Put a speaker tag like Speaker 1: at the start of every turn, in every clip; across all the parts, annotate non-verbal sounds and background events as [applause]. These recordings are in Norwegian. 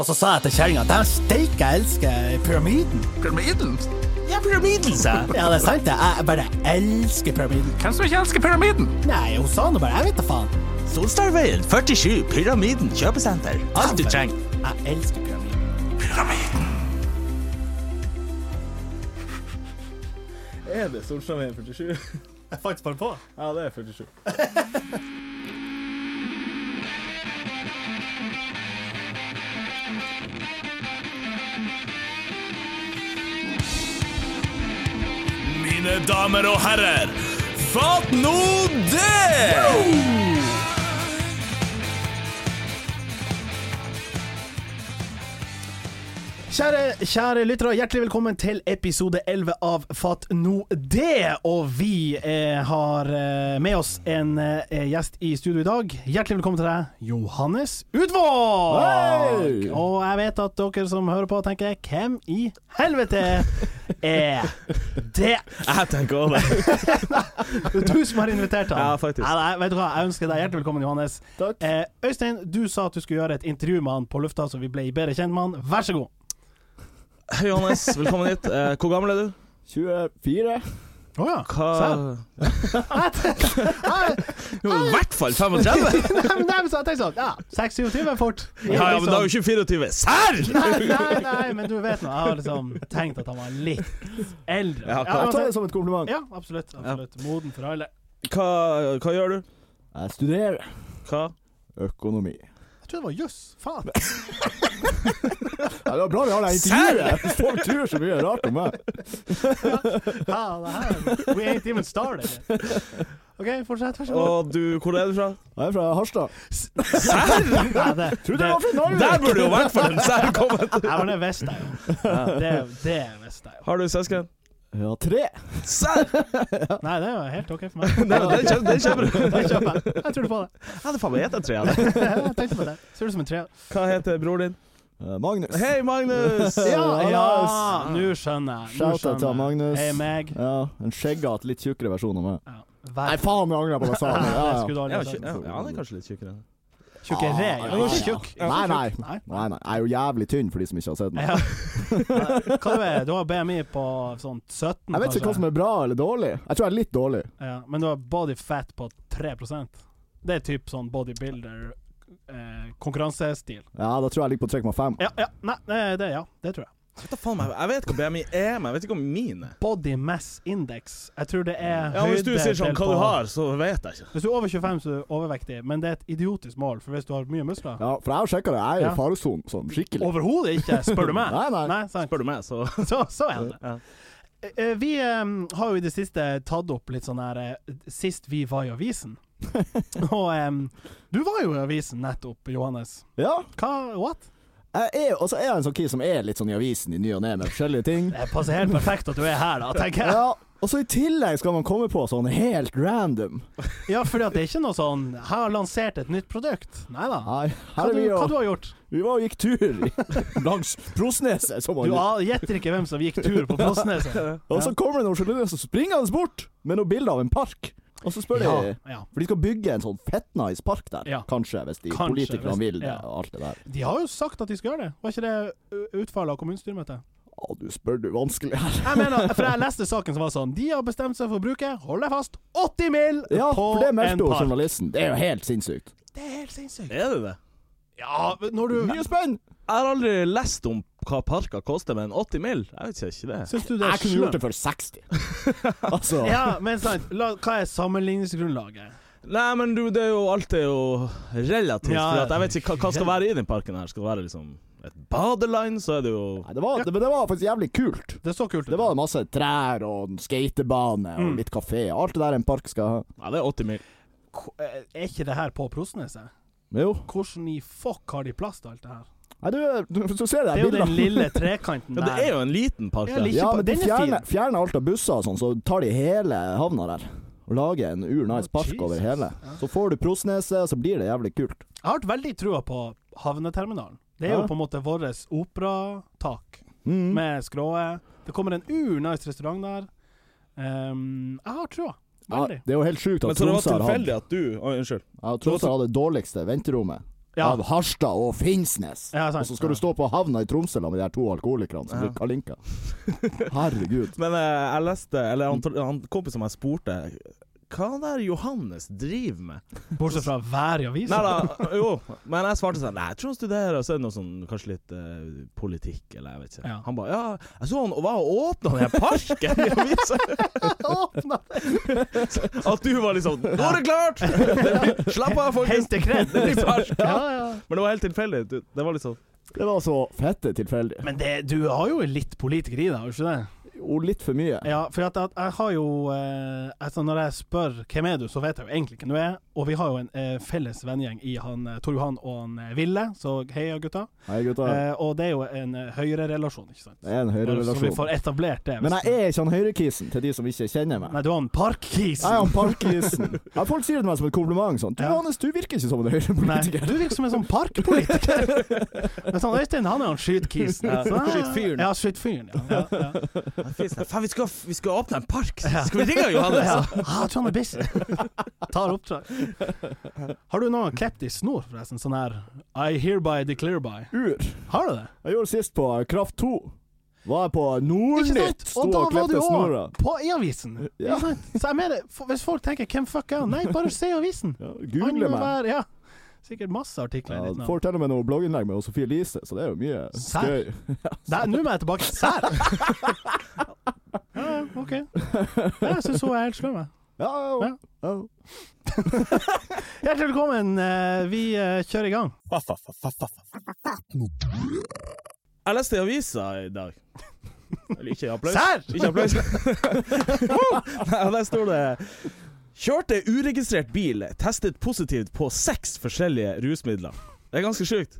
Speaker 1: Og så sa jeg til kjerringa at steike, jeg elsker pyramiden.
Speaker 2: Pyramiden?
Speaker 1: Ja, pyramiden, sa jeg. Ja, det er sant, det. Jeg bare elsker pyramiden.
Speaker 2: Hvem som ikke elsker pyramiden?
Speaker 1: Nei, hun sa nå bare Jeg vet da faen.
Speaker 3: Solstadveien 47, Pyramiden kjøpesenter. Alt du trenger.
Speaker 1: Jeg elsker pyramiden.
Speaker 4: Er det
Speaker 1: [laughs]
Speaker 4: Solstadveien 47?
Speaker 1: Jeg fant bare på.
Speaker 4: Ja, det er 47.
Speaker 5: Mine damer og herrer, fatt nå det!
Speaker 1: Kjære, kjære lyttere, hjertelig velkommen til episode 11 av Fatt no det. Og vi eh, har eh, med oss en eh, gjest i studio i dag. Hjertelig velkommen til deg, Johannes Utvåg!
Speaker 4: Hei!
Speaker 1: Og jeg vet at dere som hører på, tenker 'Hvem i helvete er det?'
Speaker 3: Jeg tenker over det.
Speaker 1: Det er du som har invitert ham.
Speaker 3: Ja, faktisk.
Speaker 1: Nei, nei, vet du hva, jeg ønsker deg hjertelig velkommen, Johannes.
Speaker 4: Takk.
Speaker 1: Eh, Øystein, du sa at du skulle gjøre et intervju med han på lufta, så vi ble bedre kjent med han. Vær så god.
Speaker 3: Hei, Johannes. Velkommen hit. Eh, hvor gammel er du?
Speaker 4: 24.
Speaker 1: Oh, ja.
Speaker 3: Hva
Speaker 1: [laughs] Nei,
Speaker 3: Du er i hvert fall 35!
Speaker 1: men nei, men så jeg tenkte sånn Ja, 26 er fort.
Speaker 3: [laughs]
Speaker 1: Liksom.
Speaker 3: Ja, ja, men da er jo ikke 24. Liksom. Serr!
Speaker 1: Nei, nei, nei, men du vet nå. Jeg har liksom tenkt at han var litt eldre. ja,
Speaker 3: Ja,
Speaker 4: Jeg tar det
Speaker 1: uansett.
Speaker 4: som et
Speaker 3: sånn.
Speaker 4: kompliment.
Speaker 1: ja absolutt. absolutt. Moden for alle.
Speaker 3: Hva, hva gjør du?
Speaker 4: Jeg studerer
Speaker 3: Hva?
Speaker 4: økonomi.
Speaker 1: Jeg tror det var jøss. Faen.
Speaker 4: Ja, det var bra vi har det intervjuet. Folk tror så mye rart om meg.
Speaker 1: Ja, det her We ain't even started. yet. OK, fortsett. Vær så god.
Speaker 3: Og du, hvor er du fra?
Speaker 4: Jeg er fra Harstad.
Speaker 1: Nei, det, det,
Speaker 4: Trodde jeg var fra
Speaker 3: Der
Speaker 4: Narvik!
Speaker 3: burde du i hvert fall en serr kommet!
Speaker 1: ja, men det visste jeg jo. Det, det visste jeg jo.
Speaker 3: Har du søsken?
Speaker 4: Ja, tre.
Speaker 3: Serr!
Speaker 1: Nei, det var helt OK for
Speaker 4: [laughs]
Speaker 1: meg.
Speaker 3: Nei, men Den kjøper- den kjøper du.
Speaker 1: Det kjøper jeg. Jeg tror på det. [laughs]
Speaker 3: Ja, det faen meg heter tre av dem.
Speaker 1: Jeg tenkte på det. Ser ut som en tre.
Speaker 3: Hva heter broren din?
Speaker 4: Eh, Magnus.
Speaker 3: Hei, Magnus!
Speaker 1: Ja,
Speaker 4: Johannes.
Speaker 1: ja! Nå skjønner jeg. Nå
Speaker 4: Shout out til
Speaker 1: skjønner jeg.
Speaker 4: Magnus.
Speaker 1: Hei, meg.
Speaker 4: Ja, en skjeggete, litt tjukkere versjon av meg.
Speaker 1: Ja.
Speaker 4: Nei,
Speaker 1: Vær
Speaker 4: faen, jeg angrer på det jeg
Speaker 1: [laughs]
Speaker 4: sa.
Speaker 1: Ja,
Speaker 4: Ja,
Speaker 1: det
Speaker 4: ja.
Speaker 1: skulle du aldri
Speaker 3: Ja,
Speaker 1: ha sagt.
Speaker 3: tjukk- ja, ja, han er kanskje litt tjukkere.
Speaker 1: Tjukkere, ja.
Speaker 4: Ah,
Speaker 1: Ikke
Speaker 4: ja.
Speaker 1: tjukk.
Speaker 4: Nei, nei.
Speaker 1: Nei.
Speaker 4: Nei, nei, jeg er jo jævlig tynn for de som ikke har sett meg.
Speaker 1: Ja. Hva du er du? har BMI på sånn 17,
Speaker 4: Jeg vet ikke hva som er bra eller dårlig. Jeg tror jeg er litt dårlig.
Speaker 1: ja, Men du har body fat på 3 Det er typ sånn bodybuilder eh, konkurransestil.
Speaker 4: Ja, da tror jeg jeg ligger på 3,5.
Speaker 1: Ja, ja. Nei, det, det, ja, det tror jeg.
Speaker 3: Vet da faen meg, Jeg vet hva BMI er, men jeg vet ikke hva min er.
Speaker 1: Body mass index. Jeg tror det er
Speaker 3: Ja, men Hvis du sier sånn
Speaker 1: delt
Speaker 3: hva du
Speaker 1: på-
Speaker 3: har, så vet jeg ikke.
Speaker 1: Hvis du er over 25, så er du overvektig, men det er et idiotisk mål, for hvis du har mye muskler
Speaker 4: Ja, for jeg har sjekka det. Jeg er
Speaker 1: Ja.
Speaker 4: i faresonen, sånn skikkelig.
Speaker 1: Overhodet ikke, spør du meg.
Speaker 4: [laughs] Nei, nei.
Speaker 1: Nei, sant.
Speaker 3: Spør du meg, så
Speaker 1: Så, så er det.
Speaker 3: ja.
Speaker 1: Eh, eh, Vi eh, har jo i det siste tatt opp litt sånn her eh, Sist vi var i
Speaker 4: [laughs]
Speaker 1: avisen. Og em, du var jo i avisen nettopp, Johannes.
Speaker 4: Ja,
Speaker 1: Hva? What?
Speaker 4: jeg er, og så er jeg en sånn kid som er litt sånn i avisen i ny og ne med forskjellige ting.
Speaker 1: Det passer helt perfekt at du er her, da, tenker jeg.
Speaker 4: [laughs] Ja, og så i tillegg skal man komme på sånn helt random.
Speaker 1: Ja, fordi at det er ikke noe sånn 'Jeg har lansert et nytt produkt'. Nei da. Hva,
Speaker 4: Nei, her er
Speaker 1: du,
Speaker 4: vi
Speaker 1: hva
Speaker 4: og
Speaker 1: du har gjort?
Speaker 4: Vi var og gikk tur [laughs] i- langs Prosneset, som
Speaker 1: Du
Speaker 4: man
Speaker 1: a- gjetter ikke hvem som gikk tur på altså. Fossneset.
Speaker 4: [laughs] Og så kommer det noen journalister som springer hans bort med noe bilde av en park. Og så spør de
Speaker 1: ja.
Speaker 4: For de skal bygge en sånn fettnice park der,
Speaker 1: Ja.
Speaker 4: kanskje, hvis de
Speaker 1: Kanskje,
Speaker 4: politikerne
Speaker 1: hvis-
Speaker 4: vil det
Speaker 1: ja.
Speaker 4: og alt det der.
Speaker 1: De har jo sagt at de skal gjøre det. Var ikke det ø, utfallet av kommunestyremøtet?
Speaker 4: Å, du spør du vanskelig her.
Speaker 1: Jeg mener, for jeg leste saken som var sånn De har bestemt seg for å bruke, hold deg fast, 80 mil
Speaker 4: Ja,
Speaker 1: på
Speaker 4: for det
Speaker 1: en
Speaker 4: meldte jo
Speaker 1: park.
Speaker 4: journalisten. Det er jo helt sinnssykt.
Speaker 1: Det er helt sinnssykt.
Speaker 3: Er det det?
Speaker 1: Ja, men når du
Speaker 4: Mye spenn!
Speaker 3: Jeg har aldri lest om hva parker koster, men 80 mil? Jeg vet ikke det.
Speaker 1: Syns du det
Speaker 4: Jeg
Speaker 1: er
Speaker 4: kunne gjort det
Speaker 1: sløvt?
Speaker 4: for
Speaker 1: [laughs]
Speaker 4: 60. Altså
Speaker 1: Ja, men sant. La, hva er sammenligningsgrunnlaget?
Speaker 3: Nei, men du, det er jo alt er jo relativt.
Speaker 1: Ja,
Speaker 3: for at jeg vet ikke hva, hva skal være i den parken her. Skal det være liksom et badeland, så er det jo
Speaker 4: Nei, det var, det, men det var faktisk jævlig kult.
Speaker 1: Det så kult ut.
Speaker 4: Det var masse trær og en skatebane
Speaker 1: Mm.
Speaker 4: og litt kafé. Alt det der en park skal ha.
Speaker 3: Nei, det er 80 mil.
Speaker 1: Ko- eh, Er ikke det her på Prosneset?
Speaker 4: Men jo.
Speaker 1: Hvordan i fuck har de plass til alt det her?
Speaker 4: Nei, du, du så ser du
Speaker 1: Det
Speaker 4: de
Speaker 1: er jo den
Speaker 4: bildene. [laughs]
Speaker 1: lille trekanten
Speaker 3: Ja,
Speaker 1: der.
Speaker 3: det er jo en liten park,
Speaker 1: Ja,
Speaker 3: der.
Speaker 1: litt-
Speaker 4: Ja,
Speaker 1: ikke på-
Speaker 4: men de
Speaker 1: den er
Speaker 4: fjerner,
Speaker 1: fin.
Speaker 4: fjerner alt av busser og sånn, så tar de hele havna der. Og lager en ur nice
Speaker 1: Å,
Speaker 4: park
Speaker 1: Jesus.
Speaker 4: over hele. Så får du Prosneset, så blir det jævlig kult.
Speaker 1: Jeg har hatt veldig trua på havneterminalen. Det er
Speaker 4: Ja.
Speaker 1: jo på en måte vårt operatak
Speaker 4: Mm.
Speaker 1: med skrået. Det kommer en urnice restaurant der. Ehm, jeg har trua.
Speaker 4: Ja,
Speaker 1: Veldig.
Speaker 4: det er jo helt sjukt at
Speaker 3: Men så det var
Speaker 4: Tromsø har hatt
Speaker 3: tilfeldig at du Å, unnskyld.
Speaker 4: ja, Tromsø hadde det dårligste venterommet
Speaker 1: Ja.
Speaker 4: av Harstad og Finnsnes.
Speaker 1: Ja, sant.
Speaker 4: og så skal du stå på havna i Tromsø da med de her to alkoholikerne som blir kalinka. Herregud.
Speaker 3: Men eh, jeg leste Eller han, han kompisen meg spurte hva han der Johannes driver [laughs] med?
Speaker 1: Bortsett fra vær i avisa.
Speaker 3: Nei da, jo, men jeg svarte sånn Nei, jeg tror han studerer, og så er det noe sånn kanskje litt eh, politikk, eller jeg vet ikke.
Speaker 1: Ja.
Speaker 3: Han bare Ja, jeg så han var og åpna den her parken [laughs] i avisa!
Speaker 4: [laughs]
Speaker 3: At du var liksom Nå er det klart! [laughs] Det blir- Slapp av, folkens!
Speaker 1: Helt dekret.
Speaker 3: Det
Speaker 4: sånn.
Speaker 3: blir park.
Speaker 1: Ja, ja.
Speaker 3: Men det var helt tilfeldig. Du- Det var litt sånn
Speaker 4: Det var så fette tilfeldig.
Speaker 1: Men det, du har jo litt politiker i deg, har du ikke det?
Speaker 4: Og litt for mye.
Speaker 1: Ja, for at, at jeg har jo eh, altså Når jeg spør hvem er du, så vet jeg jo egentlig hvem du er. Og vi har jo en eh, felles vennegjeng i han eh, Tor Johan og han eh, Ville, så heia gutta.
Speaker 4: Nei, gutta.
Speaker 1: Eh, og det er jo en eh, høyrerelasjon, ikke sant?
Speaker 4: Det er en
Speaker 1: Så vi
Speaker 4: høyrerelasjon.
Speaker 1: får etablert det.
Speaker 4: Men jeg er ikke han høyrekisen, til de som ikke kjenner meg.
Speaker 1: Nei, du har en parkkis.
Speaker 4: Jeg er han parkkisen. Ja, folk sier det til meg som et kompliment. Sånn. Du,
Speaker 1: Ja.
Speaker 4: Johannes, du virker ikke som en
Speaker 1: Nei,
Speaker 4: høyrepolitiker.
Speaker 1: du virker som en sånn
Speaker 4: [laughs]
Speaker 1: parkpolitiker. Mens han Øystein, han er han skytkisen.
Speaker 3: Ja,
Speaker 1: Så-
Speaker 3: skytfyren.
Speaker 1: Ja, skytfyren. Ja,
Speaker 4: [laughs]
Speaker 1: ja, ja.
Speaker 3: Faen, vi skal, vi skal åpne en park! Skal vi ringe [laughs] Johannes?
Speaker 1: Ja. Ah, jeg tror han er busy. Tar oppdrag. Har du noen klept i snor, forresten? Sånn her I hereby declare by.
Speaker 4: Ur.
Speaker 1: Har du det?
Speaker 4: Jeg gjorde sist på eh, Kraft 2. Var jeg på Nordnytt, sto
Speaker 1: Og da var
Speaker 4: og,
Speaker 1: du
Speaker 4: klepte snora.
Speaker 1: òg på E-avisen.
Speaker 4: Ja.
Speaker 1: Ikke sant? Så jeg mener, f- hvis folk tenker 'hvem fuck er han', nei, bare se avisen.
Speaker 4: Ja,
Speaker 1: Han må
Speaker 4: Google meg.
Speaker 1: være- Ja. Sikkert masse artikler i
Speaker 4: Ja,
Speaker 1: ditt navn.
Speaker 4: får til og med noe blogginnlegg med Sofie Elise, så det er jo mye
Speaker 1: Serr?
Speaker 4: skøy.
Speaker 1: Der, Nå må jeg tilbake.
Speaker 3: [laughs]
Speaker 1: Sær! Ja, ja, OK. Ja, Jeg syns hun er helt sløv, jeg.
Speaker 4: Ja, ja, ja.
Speaker 1: Hjertelig velkommen. eh, Vi eh, kjører i gang.
Speaker 3: Jeg leste i avisa i [laughs] dag. Eller ikke applaus.
Speaker 1: Sær!
Speaker 3: Ikke applaus. [laughs] Nei, og der står det Kjørte uregistrert bil, testet positivt på seks forskjellige rusmidler. Det er ganske sjukt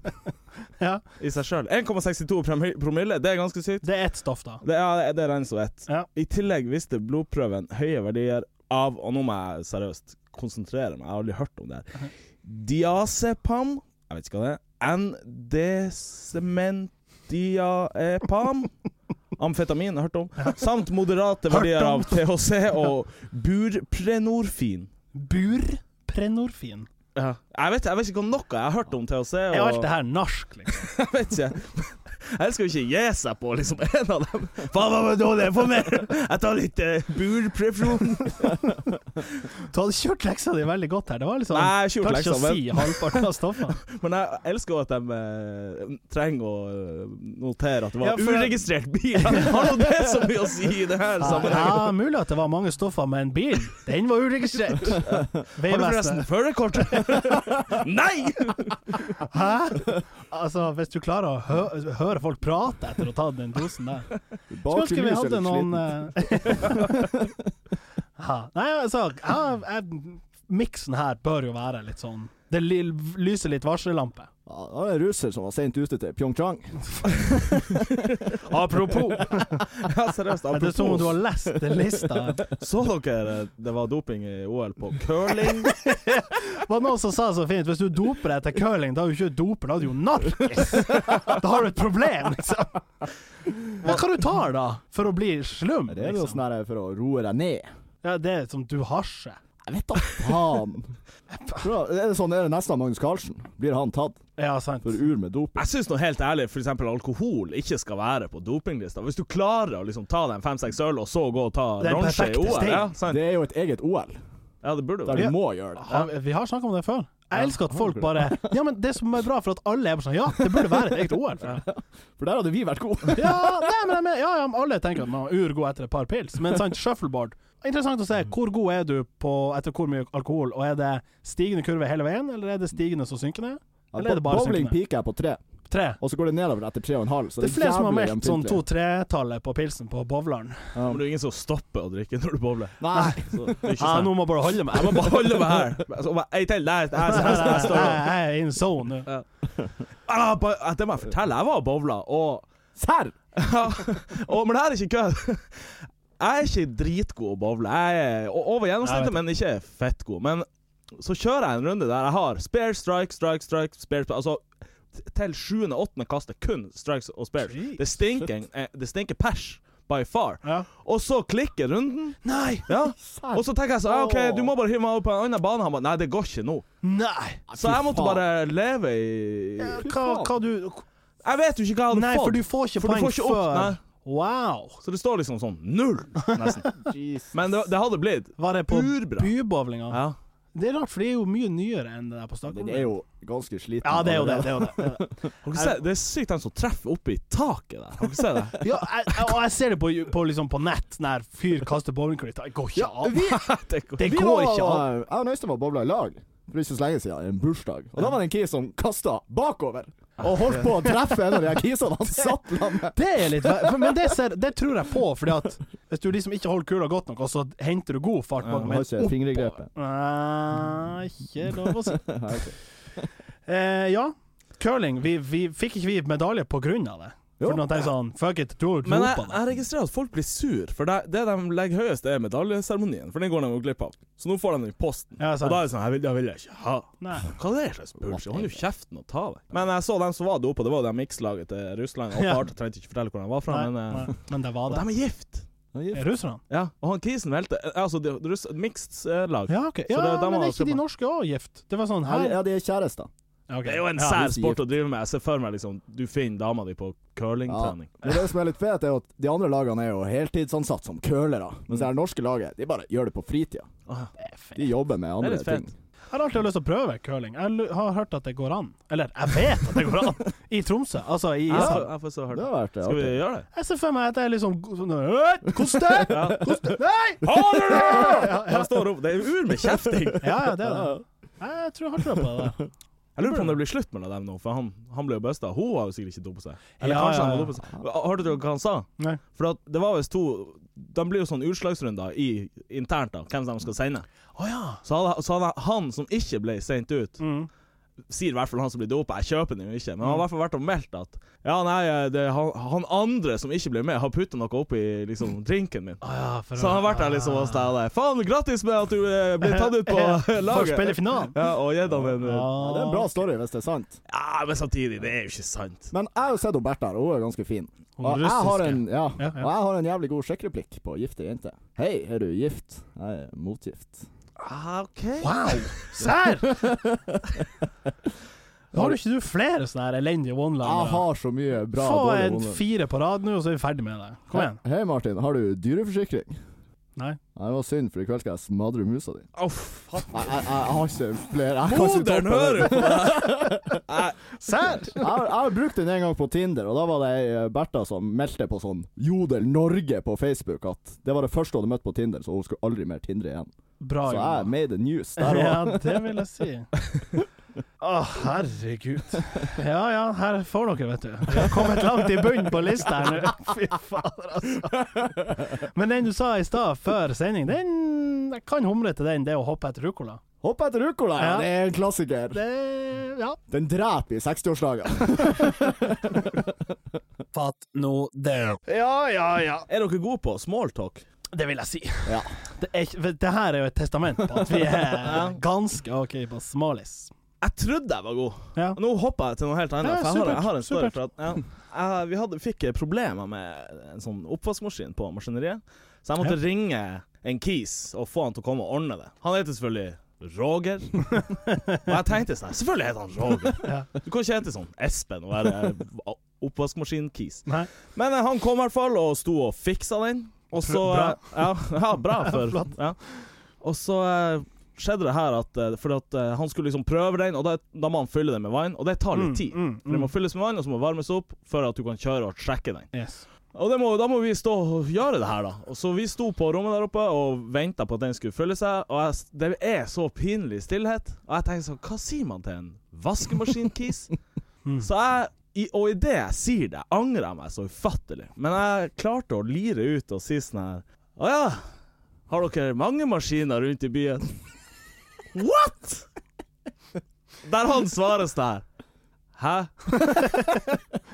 Speaker 1: Ja,
Speaker 3: i seg sjøl. 1,62 promille- promille, det er ganske sykt.
Speaker 1: [laughs] det er ett stoff, da.
Speaker 3: Det, ja, det regnes som ett.
Speaker 1: Ja.
Speaker 3: I tillegg viste blodprøven høye verdier av Og nå må jeg seriøst konsentrere meg, jeg har aldri hørt om det her. Diazepam Jeg vet ikke hva det er. [laughs] N-desementiaepam. Amfetamin, jeg har hørt om. Samt moderate verdier
Speaker 1: om.
Speaker 3: [laughs] av THC og burprenorfin.
Speaker 1: Burprenorfin.
Speaker 3: Jeg, vet, jeg vet ikke hva noe jeg har hørt om THC.
Speaker 1: Er jo alt
Speaker 3: Og,
Speaker 1: det her narsk, liksom?
Speaker 3: jeg [laughs] vet ikke. Jeg skal jo ikke gi seg på liksom [laughs] en av dem. Faen, hva var det dårlig? Få mer! Jeg tar litt uh, burprefron.
Speaker 1: Du hadde kjørt leksa di veldig godt her. Det var liksom
Speaker 3: Nei, jeg har ikke gjort
Speaker 1: Klarte ikke
Speaker 3: leksa,
Speaker 1: å
Speaker 3: men,
Speaker 1: si halvparten av
Speaker 3: [laughs]
Speaker 1: stoffene.
Speaker 3: men jeg elsker også at de eh, trenger å eh, notere at det var
Speaker 1: Ja, for-
Speaker 3: uregistrert bil. [laughs] Har nå det så mye å si i det her sammenhengen?
Speaker 1: Ja, mulig at det var mange stoffer, men bilen, den var uregistrert.
Speaker 3: [laughs] Har du forresten
Speaker 1: Vegvesenet.
Speaker 3: førerkort? [laughs] Nei!
Speaker 1: Hæ? Altså, hvis du klarer å hø høre folk prate etter å ha tatt den dosen der Skulle ønske vi
Speaker 4: Bakelys er
Speaker 1: hadde
Speaker 4: litt
Speaker 1: noen
Speaker 4: sliten.
Speaker 1: eh, [laughs] ja. Nei, altså ja, jeg, Miksen her bør jo være litt sånn Det li- lyser litt varsellampe.
Speaker 4: Ja, det var en russer som var sent ute til Pyeongchang.
Speaker 1: Mm, [laughs]
Speaker 3: Apropos. Ja, seriøst,
Speaker 1: Det er som om du har
Speaker 3: apropos.
Speaker 1: lest den lista.
Speaker 3: Så dere eh, det var doping i OL på curling?
Speaker 1: Det var noen som sa så fint Hvis du doper deg etter curling, da er du ikke doper, da er du jo narkis! [laughs] Da har du et problem, liksom! Hva kan du ta da, for å bli slum?
Speaker 4: Det er jo
Speaker 1: Liksom?
Speaker 4: sånn her for å roe deg ned.
Speaker 1: Ja, det er som du hasjer.
Speaker 4: Jeg vet da faen. [laughs] Tror du- Er det sånn er det nesten Magnus Carlsen? Blir han tatt
Speaker 1: Ja, sant.
Speaker 4: for ur med doping?
Speaker 3: Jeg syns nå helt ærlig f.eks. alkohol ikke skal være på dopinglista. Hvis du klarer å liksom ta deg en fem-seks øl, og så gå og ta
Speaker 1: Det er den
Speaker 3: bronse i
Speaker 1: perfekte
Speaker 3: OL
Speaker 1: steg.
Speaker 3: ja, sant?
Speaker 4: Det er jo et eget OL,
Speaker 3: ja, det burde
Speaker 4: der
Speaker 3: du.
Speaker 4: du
Speaker 1: Ja.
Speaker 4: må gjøre det.
Speaker 1: Har, vi har snakka om det før.
Speaker 4: Ja,
Speaker 1: Jeg elsker at
Speaker 4: har
Speaker 1: folk
Speaker 4: du?
Speaker 1: bare Ja, men det som er bra, for at alle er bare sånn Ja, det burde være et eget OL. for det."
Speaker 4: For der hadde vi vært gode.
Speaker 1: Ja, nei, men, jeg mener- ja, ja, men alle tenker at man er urgod etter et par pils, men sant, shuffleboard Interessant å se. Hvor god er du på etter hvor mye alkohol? Og er det stigende kurve hele veien, eller er det stigende som synker ned? [laughs] Eller er det bare
Speaker 4: Bowling
Speaker 1: synkende?
Speaker 4: peaker jeg på tre,
Speaker 1: Tre.
Speaker 4: og så går det nedover etter tre og en halv. Så
Speaker 1: Det
Speaker 4: det
Speaker 1: er flere som har
Speaker 4: jævlig
Speaker 1: meldt sånn
Speaker 4: jevnpyntelig.
Speaker 1: to-tre-tallet på pilsen på Bovlaren.
Speaker 3: Men det er ingen som stopper å drikke når du bowler.
Speaker 4: Nei.
Speaker 3: Så det er ikke
Speaker 1: Ja,
Speaker 3: sånn.
Speaker 1: nå må jeg bare holde meg.
Speaker 3: Jeg må bare holde meg her. Så bare, Ei til. Der, der, der, der, der står
Speaker 1: [laughs]
Speaker 3: jeg.
Speaker 1: Jeg er in zone nå.
Speaker 3: Ah, bare- Det må jeg fortelle. Jeg var og bowla, og,
Speaker 4: Serr!
Speaker 3: og Men det her er ikke kødd. [laughs] Jeg er ikke dritgod å bowle. Jeg er o- over
Speaker 1: Jeg vet
Speaker 3: gjennomsnittet, men ikke fettgod. Men så kjører jeg en runde der jeg har spare, strike, strike, strike, spare, strike. Altså t- til sjuende, åttende kastet kun strikes og spares.
Speaker 1: Jeez.
Speaker 3: Det stinker, eh, det stinker pers by far.
Speaker 1: Ja.
Speaker 3: Og så klikker runden.
Speaker 1: Nei!
Speaker 3: Ja.
Speaker 1: [laughs]
Speaker 3: Og så tenker jeg sånn ah, OK, du må bare hive meg opp på en annen bane. Han bare Nei, det går ikke nå.
Speaker 1: Nei!
Speaker 3: Så jeg måtte bare leve i
Speaker 1: Hva, hva du
Speaker 3: Jeg vet jo ikke hva jeg hadde
Speaker 1: Nei,
Speaker 3: fått.
Speaker 1: for du får ikke
Speaker 3: For du
Speaker 1: poeng
Speaker 3: får ikke opp-
Speaker 1: før
Speaker 3: nei.
Speaker 1: Wow!
Speaker 3: Så det står liksom sånn null, nesten. Men det, det hadde blitt.
Speaker 1: Var det på
Speaker 3: Urbra.
Speaker 1: bybowlinga?
Speaker 3: Ja.
Speaker 1: Det er rart, for det er jo mye nyere enn det der på Stakholm.
Speaker 4: Den er jo ganske sliten.
Speaker 1: Ja, det er jo det. det, er jo det, det, er [laughs] det.
Speaker 3: Har dere sett- Det er sykt den som treffer oppe i taket der. Har dere sett det?
Speaker 1: Ja, jeg, jeg- og jeg ser det på, på, liksom på nett, når fyr kaster bowlingklita. Det går ikke
Speaker 4: Ja,
Speaker 1: an.
Speaker 4: vi,
Speaker 3: [laughs] det går-
Speaker 1: Det
Speaker 4: vi
Speaker 1: går
Speaker 4: var, eh,
Speaker 1: ikke an.
Speaker 4: Jeg og Øystein var bobla i lag for ikke så lenge siden, i en bursdag. Og da var det en kis som kasta bakover. Og holdt på å treffe en av de her kisene han satt landet.
Speaker 1: Det er litt ver- for- Men det, ser, det tror jeg på, fordi at hvis du liksom ikke holder kula godt nok, og så henter du god fart bak
Speaker 4: Han
Speaker 1: med
Speaker 4: har ikke fingergrepet.
Speaker 1: Nei, ikke lov å si. [laughs]
Speaker 4: Nei, ok.
Speaker 1: Eh, ja, curling. Vi, vi fikk ikke vi medalje på grunn av det. For
Speaker 4: Jo.
Speaker 1: noen tenker sånn Fuck it, tror tro
Speaker 3: Men jeg,
Speaker 1: på det.
Speaker 3: jeg registrerer at folk blir sur, for det, det de legger høyest, er medaljeseremonien. For den går de jo glipp av. Så nå får de den i posten.
Speaker 1: Ja, sant.
Speaker 3: og da er det sånn Jeg vil, jeg vil jeg ikke ha. [laughs]
Speaker 1: Nei.
Speaker 3: Hva er det slags bullshit? Hold jo kjeften og ta det. Men jeg så dem som var dopa, det var jo det mikslaget til Russland. Og
Speaker 1: Ja.
Speaker 3: klart, jeg trengte ikke fortelle hvor de var fra,
Speaker 1: Nei,
Speaker 3: men eh,
Speaker 1: nei, men det var
Speaker 3: Og
Speaker 1: det.
Speaker 3: de er gift!
Speaker 1: Er sånn? Russerne?
Speaker 3: Ja, og han krisen velte. eh, Altså, det, det russ, mixed eh, lag.
Speaker 1: Ja, ok.
Speaker 3: det-
Speaker 1: ja
Speaker 3: dem
Speaker 1: men
Speaker 3: har
Speaker 1: er
Speaker 3: jeg
Speaker 1: ikke
Speaker 3: sett
Speaker 1: de
Speaker 3: på.
Speaker 1: norske òg gift? Det var sånn
Speaker 4: Ja, de-
Speaker 1: her.
Speaker 4: Ja, de er kjærester.
Speaker 1: Ok.
Speaker 3: Det er jo en
Speaker 1: Ja.
Speaker 3: sær
Speaker 4: hvis de
Speaker 3: sport å drive med. Jeg ser for meg liksom Du finner dama di på curlingtrening.
Speaker 4: Men det som er litt fett, er jo at de andre lagene er jo heltidsansatt som curlere. Mens det her norske laget, de bare gjør det på fritida.
Speaker 3: Ah,
Speaker 4: De jobber med
Speaker 3: Det er
Speaker 4: andre
Speaker 3: litt
Speaker 4: ting.
Speaker 3: fett.
Speaker 1: Jeg har alltid hatt lyst til å prøve curling. Jeg lu- har hørt at det går an. Eller, jeg vet at det går an! I Tromsø. Altså, i
Speaker 3: Jeg,
Speaker 1: Island.
Speaker 3: får- jeg får så
Speaker 4: Det
Speaker 3: hørt
Speaker 4: har vært det.
Speaker 3: Skal vi
Speaker 4: artig.
Speaker 3: gjøre det?
Speaker 1: Jeg ser for meg at jeg er liksom sånn «Øh, Koste! Koste! Nei!
Speaker 3: Jeg står opp. Det er ur med kjefting!
Speaker 1: Ja, ja, det er det. Jeg tror jeg har trua på det. der.
Speaker 3: Jeg lurer på om det blir slutt mellom dem nå, for han, han ble jo busta. Hun har jo sikkert ikke dopet seg. Eller
Speaker 1: Ja,
Speaker 3: kanskje
Speaker 1: ja,
Speaker 3: han
Speaker 1: ja.
Speaker 3: har dopet seg. Hørte dere hva han sa?
Speaker 1: Nei.
Speaker 3: For at det var visst to De blir jo sånn utslagsrunder i, internt, da, hvem som skal sende.
Speaker 1: Å ja.
Speaker 3: Så hadde, så hadde han som ikke ble sendt ut,
Speaker 1: Mm.
Speaker 3: sier i hvert fall han som blir dopa, jeg kjøper den jo ikke, men han har i hvert fall vært og meldt at Ja, nei, det, er han, han andre som ikke ble med, har putta noe oppi liksom, drinken min.
Speaker 1: Å ja, for
Speaker 3: Så han har vært der liksom og stæla. Faen, grattis med at du eh, blir
Speaker 1: [laughs]
Speaker 3: tatt ut på
Speaker 1: For å spille i
Speaker 3: [laughs] laget!
Speaker 1: finalen.
Speaker 3: Ja, og gitt han en
Speaker 1: Ja.
Speaker 4: Ja, det er en bra story, hvis det er sant.
Speaker 3: Ja, men samtidig, det er jo ikke sant.
Speaker 4: Men jeg har jo sett hun Bertha, og hun er ganske fin.
Speaker 1: Hun
Speaker 4: Og jeg har
Speaker 1: russiske.
Speaker 4: en, ja,
Speaker 1: Ja, ja.
Speaker 4: og jeg har en jævlig god sjekkreplikk på gifte jenter. Hei, er du gift? Jeg er motgift.
Speaker 3: Ah, OK.
Speaker 1: Wow! Serr! [laughs] Har du ikke du flere sånne her elendige
Speaker 4: Jeg
Speaker 1: one-linere?
Speaker 4: har så mye bra
Speaker 1: Få
Speaker 4: dårlige
Speaker 1: en
Speaker 4: honorar.
Speaker 1: fire på rad nå, og så er vi ferdig med det. Kom igjen.
Speaker 4: Hei, Martin, har du dyreforsikring?
Speaker 1: Nei.
Speaker 4: Nei, det var synd, for i kveld skal jeg smadre musa di.
Speaker 3: Å, faen.
Speaker 4: Nei, jeg, jeg har ikke flere. Jeg kan ikke
Speaker 3: Moderen
Speaker 4: toppe det.
Speaker 3: hører jo på det!
Speaker 1: [laughs] Serr!
Speaker 4: Jeg har, jeg har brukt den en gang på Tinder, og da var det ei eh, Bertha som meldte på sånn Jodel Norge på Facebook at det var det første hun hadde møtt på Tinder, så hun skulle aldri mer Tindre igjen.
Speaker 1: Bra
Speaker 4: Så
Speaker 1: jobba.
Speaker 4: jeg made the news
Speaker 1: [laughs]
Speaker 4: der og
Speaker 1: Ja, det vil jeg si. [laughs] Å, herregud. Ja ja, her får dere, vet du. Vi har kommet langt i bunnen på lista her nå. [laughs] Fy fader, altså. Men den du sa i stad, før sending, den Jeg kan humre til den, det å hoppe etter ruccola.
Speaker 4: Hopp etter ruccola! Ja.
Speaker 1: Ja.
Speaker 4: Det er en klassiker.
Speaker 1: Det Ja.
Speaker 4: Den dreper i [laughs] 60-årsdager.
Speaker 5: Fatt nå det.
Speaker 1: Ja, ja, ja.
Speaker 3: Er dere gode på smalltalk?
Speaker 1: Det vil jeg si.
Speaker 4: Ja.
Speaker 1: Det, er, ikke- for det her er jo et testament på at vi
Speaker 3: [laughs]
Speaker 1: er ganske OK på smalis.
Speaker 3: Jeg trodde jeg var god.
Speaker 1: Ja.
Speaker 3: Nå hopper jeg til noe helt annet.
Speaker 1: Ja,
Speaker 3: for jeg, har,
Speaker 1: supert,
Speaker 3: jeg har en story.
Speaker 1: supert.
Speaker 3: For at, ja, jeg, vi hadde, fikk problemer med en sånn oppvaskmaskin på maskineriet, så jeg måtte ringe en kis og få han til å komme og ordne det. Han heter selvfølgelig Roger. og jeg tenkte sånn Selvfølgelig heter han Roger.
Speaker 1: Ja.
Speaker 3: Du kan ikke hete sånn Espen og være oppvaskmaskin-kis.
Speaker 1: Nei.
Speaker 3: Men eh, han kom i hvert fall og sto og fiksa den. Og så eh,
Speaker 1: Bra.
Speaker 3: Ja, [laughs] ja
Speaker 1: [laughs]
Speaker 3: bra. For, ja. Og så eh, skjedde det her at eh, Fordi at eh, han skulle liksom prøve den, og da, da må han fylle den med vann, og det tar litt tid.
Speaker 1: Mm,
Speaker 3: For
Speaker 1: mm,
Speaker 3: Det
Speaker 1: mm.
Speaker 3: må fylles med vann, og så må det varmes opp før at du kan kjøre og sjekke den.
Speaker 1: Yes.
Speaker 3: Og det må, da må vi stå og gjøre det her, da. Og så vi sto på rommet der oppe og venta på at den skulle fylle seg, og jeg, s- det er så pinlig stillhet. Og jeg tenker sånn Hva sier man til en vaskemaskinkis? Så jeg i, og idet jeg sier det, angrer jeg meg så ufattelig. Men jeg klarte å lire ut og si sånn her Å ja, har dere mange maskiner rundt i byen? [laughs] What?! Der han svarer sånn her Hæ?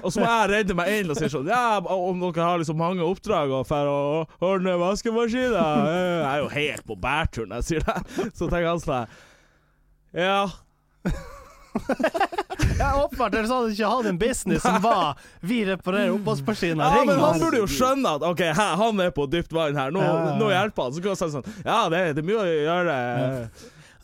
Speaker 3: og så må jeg redde meg inn og si sånn Ja, om dere har liksom mange oppdrag og for å ordne vaskemaskiner eh, Jeg er jo helt på bærtur når jeg sier det. Så tenker han sånn her Ja.
Speaker 1: Ja, åpenbart. Ellers hadde du ikke hatt en business
Speaker 3: [laughs]
Speaker 1: som var 'vi reparerer oppvaskmaskina',
Speaker 3: Ja,
Speaker 1: ring
Speaker 3: men han
Speaker 1: oss.
Speaker 3: burde jo skjønne at OK, hæ, han er på dypt vann her, nå,
Speaker 1: Ja, ja.
Speaker 3: nå hjelper han. Så kunne han sagt sånn Ja, det, det er mye å gjøre.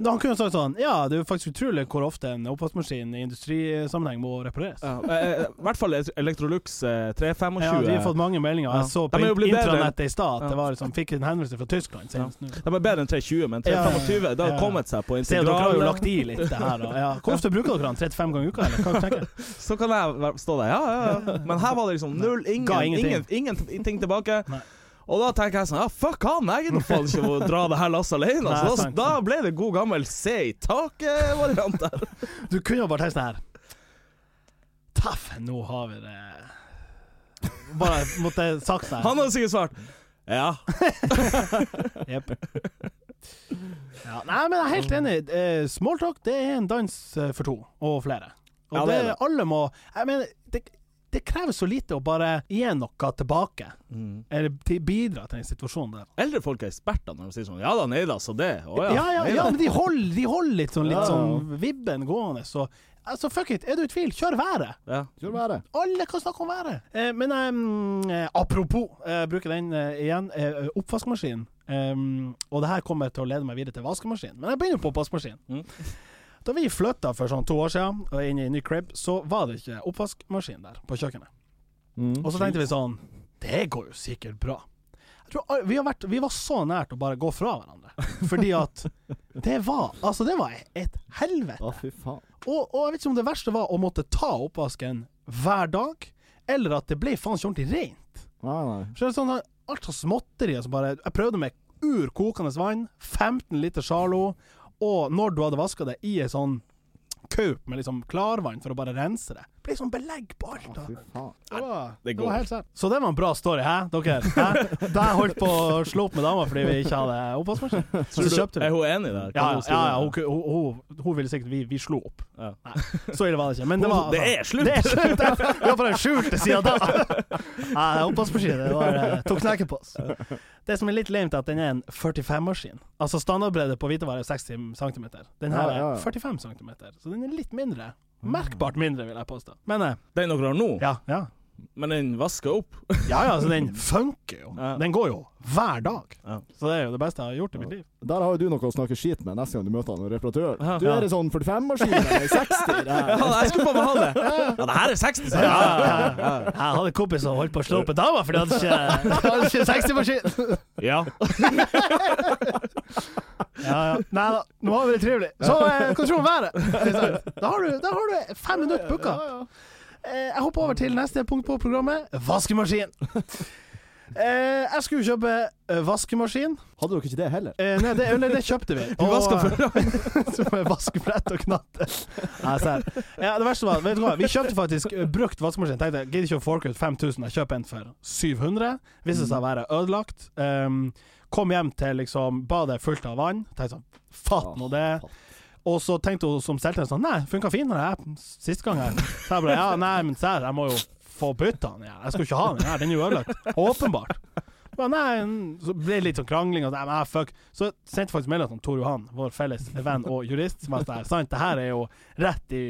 Speaker 1: Da Han kunne sagt sånn 'ja, det er jo faktisk utrolig hvor ofte en oppvaskmaskin i industrisammenheng må repareres'.
Speaker 3: Ja, eh, I hvert fall Electrolux eh, 325.
Speaker 1: Ja, vi har fått mange meldinger.
Speaker 3: Ja.
Speaker 1: Jeg så på
Speaker 3: De er jo blitt bedre.
Speaker 1: intranettet i stad at det
Speaker 3: Ja.
Speaker 1: var liksom, fikk en henvendelse fra Tyskland. senest nå.
Speaker 3: De er bedre enn 320, men 325 Det
Speaker 1: Ja,
Speaker 3: har
Speaker 1: ja.
Speaker 3: kommet seg på
Speaker 1: Se, dere har jo
Speaker 3: integralen.
Speaker 1: lagt i litt det her. Og, ja. Hvor ofte bruker dere den? 35 ganger i uka, eller? Hva tenker du?
Speaker 3: Så kan jeg være- stå der. Ja, ja, ja. Men her var
Speaker 1: [laughs]
Speaker 3: det liksom null, ingen,
Speaker 1: Ga
Speaker 3: ingen,
Speaker 1: ingenting.
Speaker 3: ingenting tilbake.
Speaker 1: Nei.
Speaker 3: Og da tenker jeg sånn Ja, fuck han! Jeg gidder faen ikke å dra det her lasset alene.
Speaker 1: Nei,
Speaker 3: Så da,
Speaker 1: sant.
Speaker 3: da ble det god gammel se i taket-variant der.
Speaker 1: Du kunne jo bare tenkt sånn her Taff, nå har vi det Bare måtte jeg sagt det.
Speaker 3: Han hadde sikkert svart ja.
Speaker 1: Jep. Ja, nei, men jeg er helt enig. Eh, Smalltalk det er en dans eh, for to, og flere. Og
Speaker 3: Ja, det
Speaker 1: det,
Speaker 3: er det.
Speaker 1: alle må Jeg mener, det, det krever så lite å bare gi noe tilbake, eller til- bidra til den situasjonen der.
Speaker 3: Mm. Eldre folk er eksperter når de sier sånn Ja da, nei da, så det. Å ja.
Speaker 1: Ja, ja,
Speaker 3: nei
Speaker 1: ja,
Speaker 3: da.
Speaker 1: men de holder, de holder litt sånn,
Speaker 4: Ja.
Speaker 1: litt sånn vibben gående, så Altså, fuck it, er du i tvil, kjør været!
Speaker 3: Ja.
Speaker 4: Skal det være.
Speaker 1: Alle kan snakke om været! Eh, men ehm, eh, apropos, eh, bruker den eh, igjen, eh, oppvaskmaskin. Ehm, og det her kommer til å lede meg videre til vaskemaskin, men jeg begynner på oppvaskmaskin.
Speaker 3: Mm.
Speaker 1: Da vi flytta for sånn to år siden, og inn i en ny crib, så var det ikke oppvaskmaskin der på kjøkkenet.
Speaker 4: Mm.
Speaker 1: Og så tenkte vi sånn Det går jo sikkert bra. Jeg tror, al- vi, har vært, vi var så nært å bare gå fra hverandre. Fordi at det var Altså, det var et helvete.
Speaker 4: Å, fy faen.
Speaker 1: Og, og jeg vet ikke om det verste var å måtte ta oppvasken hver dag, eller at det ble faen ikke ordentlig rent.
Speaker 4: Nei, nei.
Speaker 1: Så det er sånn, alt av småtterier som bare Jeg prøvde med urkokende vann, 15 liter Charlo, og når du hadde vaska det, i ei sånn kaup med liksom klarvann for å bare rense det. Det ble sånn belegg på alt. da.
Speaker 4: Fy faen.
Speaker 1: Det var,
Speaker 3: det
Speaker 1: det
Speaker 3: går.
Speaker 1: var helt sant. Så det var en bra story, hæ, dere?
Speaker 3: [laughs]
Speaker 1: Hæ? Da jeg holdt på å slå opp med dama fordi vi ikke hadde
Speaker 3: [laughs]
Speaker 1: oppvaskmaskin, så
Speaker 3: Tror du-
Speaker 1: kjøpte vi.
Speaker 3: Er hun enig der?
Speaker 1: Ja, ja,
Speaker 3: Kan hun skrive
Speaker 1: ja
Speaker 3: det?
Speaker 1: hun, ku- hun, hun, hun ville sikkert vi, vi slo opp.
Speaker 3: Ja.
Speaker 1: Nei, så ille var det ikke. Men det var
Speaker 3: Det er slutt.
Speaker 1: Det er slutt! Det er- Vi har bare skjult det siden da. Nei, det er oppvaskmaskin. Det var, eh, tok knekken på oss. Det som er litt lame, er at den er en 45-maskin. Altså standardbredde på hvitevare er 60 cm. Den her
Speaker 4: Ja, ja, ja.
Speaker 1: er 45 cm, så den er litt mindre.
Speaker 3: Mm.
Speaker 1: Merkbart mindre, vil jeg påstå. Men eh,
Speaker 3: Den dere har nå?
Speaker 1: ja, ja.
Speaker 3: Men den vasker opp? [laughs]
Speaker 1: Ja, ja, altså den funker jo.
Speaker 3: Ja.
Speaker 1: Den går jo hver dag.
Speaker 3: Ja.
Speaker 1: Så det er jo det beste jeg har gjort i mitt liv.
Speaker 4: Der har jo du noe å snakke skit med neste gang du møter han og reparatør.
Speaker 3: Ja.
Speaker 4: Du er i sånn 45-maskin eller 60 det [laughs]
Speaker 3: Ja,
Speaker 4: her.
Speaker 3: jeg skulle faen meg ha det! Ja, det her er 60, sa jeg.
Speaker 1: Ja, Jeg hadde en kompis som holdt på å slå opp en dame, for de hadde [laughs] ikke, de hadde ikke 60-maskin. [laughs]
Speaker 3: Ja.
Speaker 1: Ja, ja. Nei da, nå har vi det trivelig. Så eh, hva tror du om været? [laughs] Ikke sant? Da har du, da har du fem minutter booka. Eh, jeg hopper over til neste punkt på programmet [laughs] vaskemaskin. Eh, jeg skulle kjøpe eh, vaskemaskin.
Speaker 4: Hadde dere ikke det heller?
Speaker 1: Eh, nei, det, eller det kjøpte vi.
Speaker 3: Du vasker
Speaker 1: Og- [laughs] Som er vaskebrett og knatter. Nei, serr. Ja, det verste var, vet du hva, vi kjøpte faktisk eh, brukt vaskemaskin. Tenkte jeg gidder ikke å forke ut 5000, jeg kjøper en for 700. Viste seg å være ødelagt. Um, kom hjem til liksom badet er fullt av vann. Tenkte sånn, fatt nå det. Og så tenkte hun som selgte den sånn, nei, funka finere jeg, sist gang her. Så jeg bare, ja, nei, men serr, jeg må jo få bytta den. Ja. Jeg skal ikke ha den her, den er jo ødelagt. Åpenbart. Men nei, n- så ble det litt sånn krangling, og så, nei, fuck. Så sendte jeg faktisk melding til Tor Johan, vår felles venn og jurist, som var sånn, sant, det her er jo rett i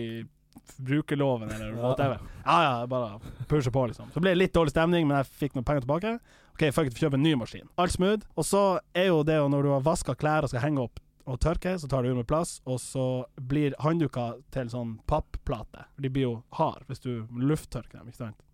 Speaker 1: brukerloven eller whatever. Ja, ja, bare pushe på, liksom. Så ble det litt dårlig stemning, men jeg fikk noen penger tilbake. OK, fuck it, kjøp en ny maskin. Alt smooth. Og så er jo det jo når du har vaska klær og skal henge opp og tørke, så tar du med plass, og så blir håndduker til sånn papplate. De blir jo hard hvis du lufttørker dem, ikke sant?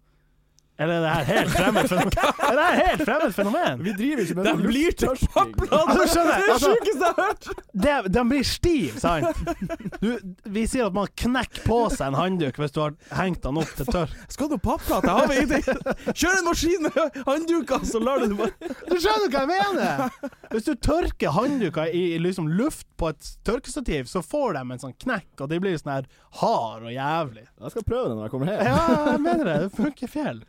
Speaker 1: Eller er det her helt fremmed fenomen? Er det her helt fremmed fenomen?
Speaker 4: Vi driver ikke med
Speaker 3: [laughs] Den blir til
Speaker 4: lufttørsting.
Speaker 3: papplate!
Speaker 1: Ja, du skjønner,
Speaker 3: Det er det
Speaker 1: altså-
Speaker 3: sjukeste jeg har hørt!
Speaker 1: Det, den blir stiv, sant? Du, vi sier at man knekker på seg en håndduk hvis du har hengt den opp til tørr.
Speaker 3: Skal du ha papplate? Jeg har vel ingenting! Kjør en maskin med håndduker, så lar du det bare
Speaker 1: Du skjønner hva jeg mener! Hvis du tørker håndduker i liksom luft på et tørkestativ, så får de en sånn knekk, og de blir sånn her hard og jævlig.
Speaker 4: Jeg skal prøve det når jeg kommer hjem.
Speaker 1: Ja, jeg mener det. Det funker fjell.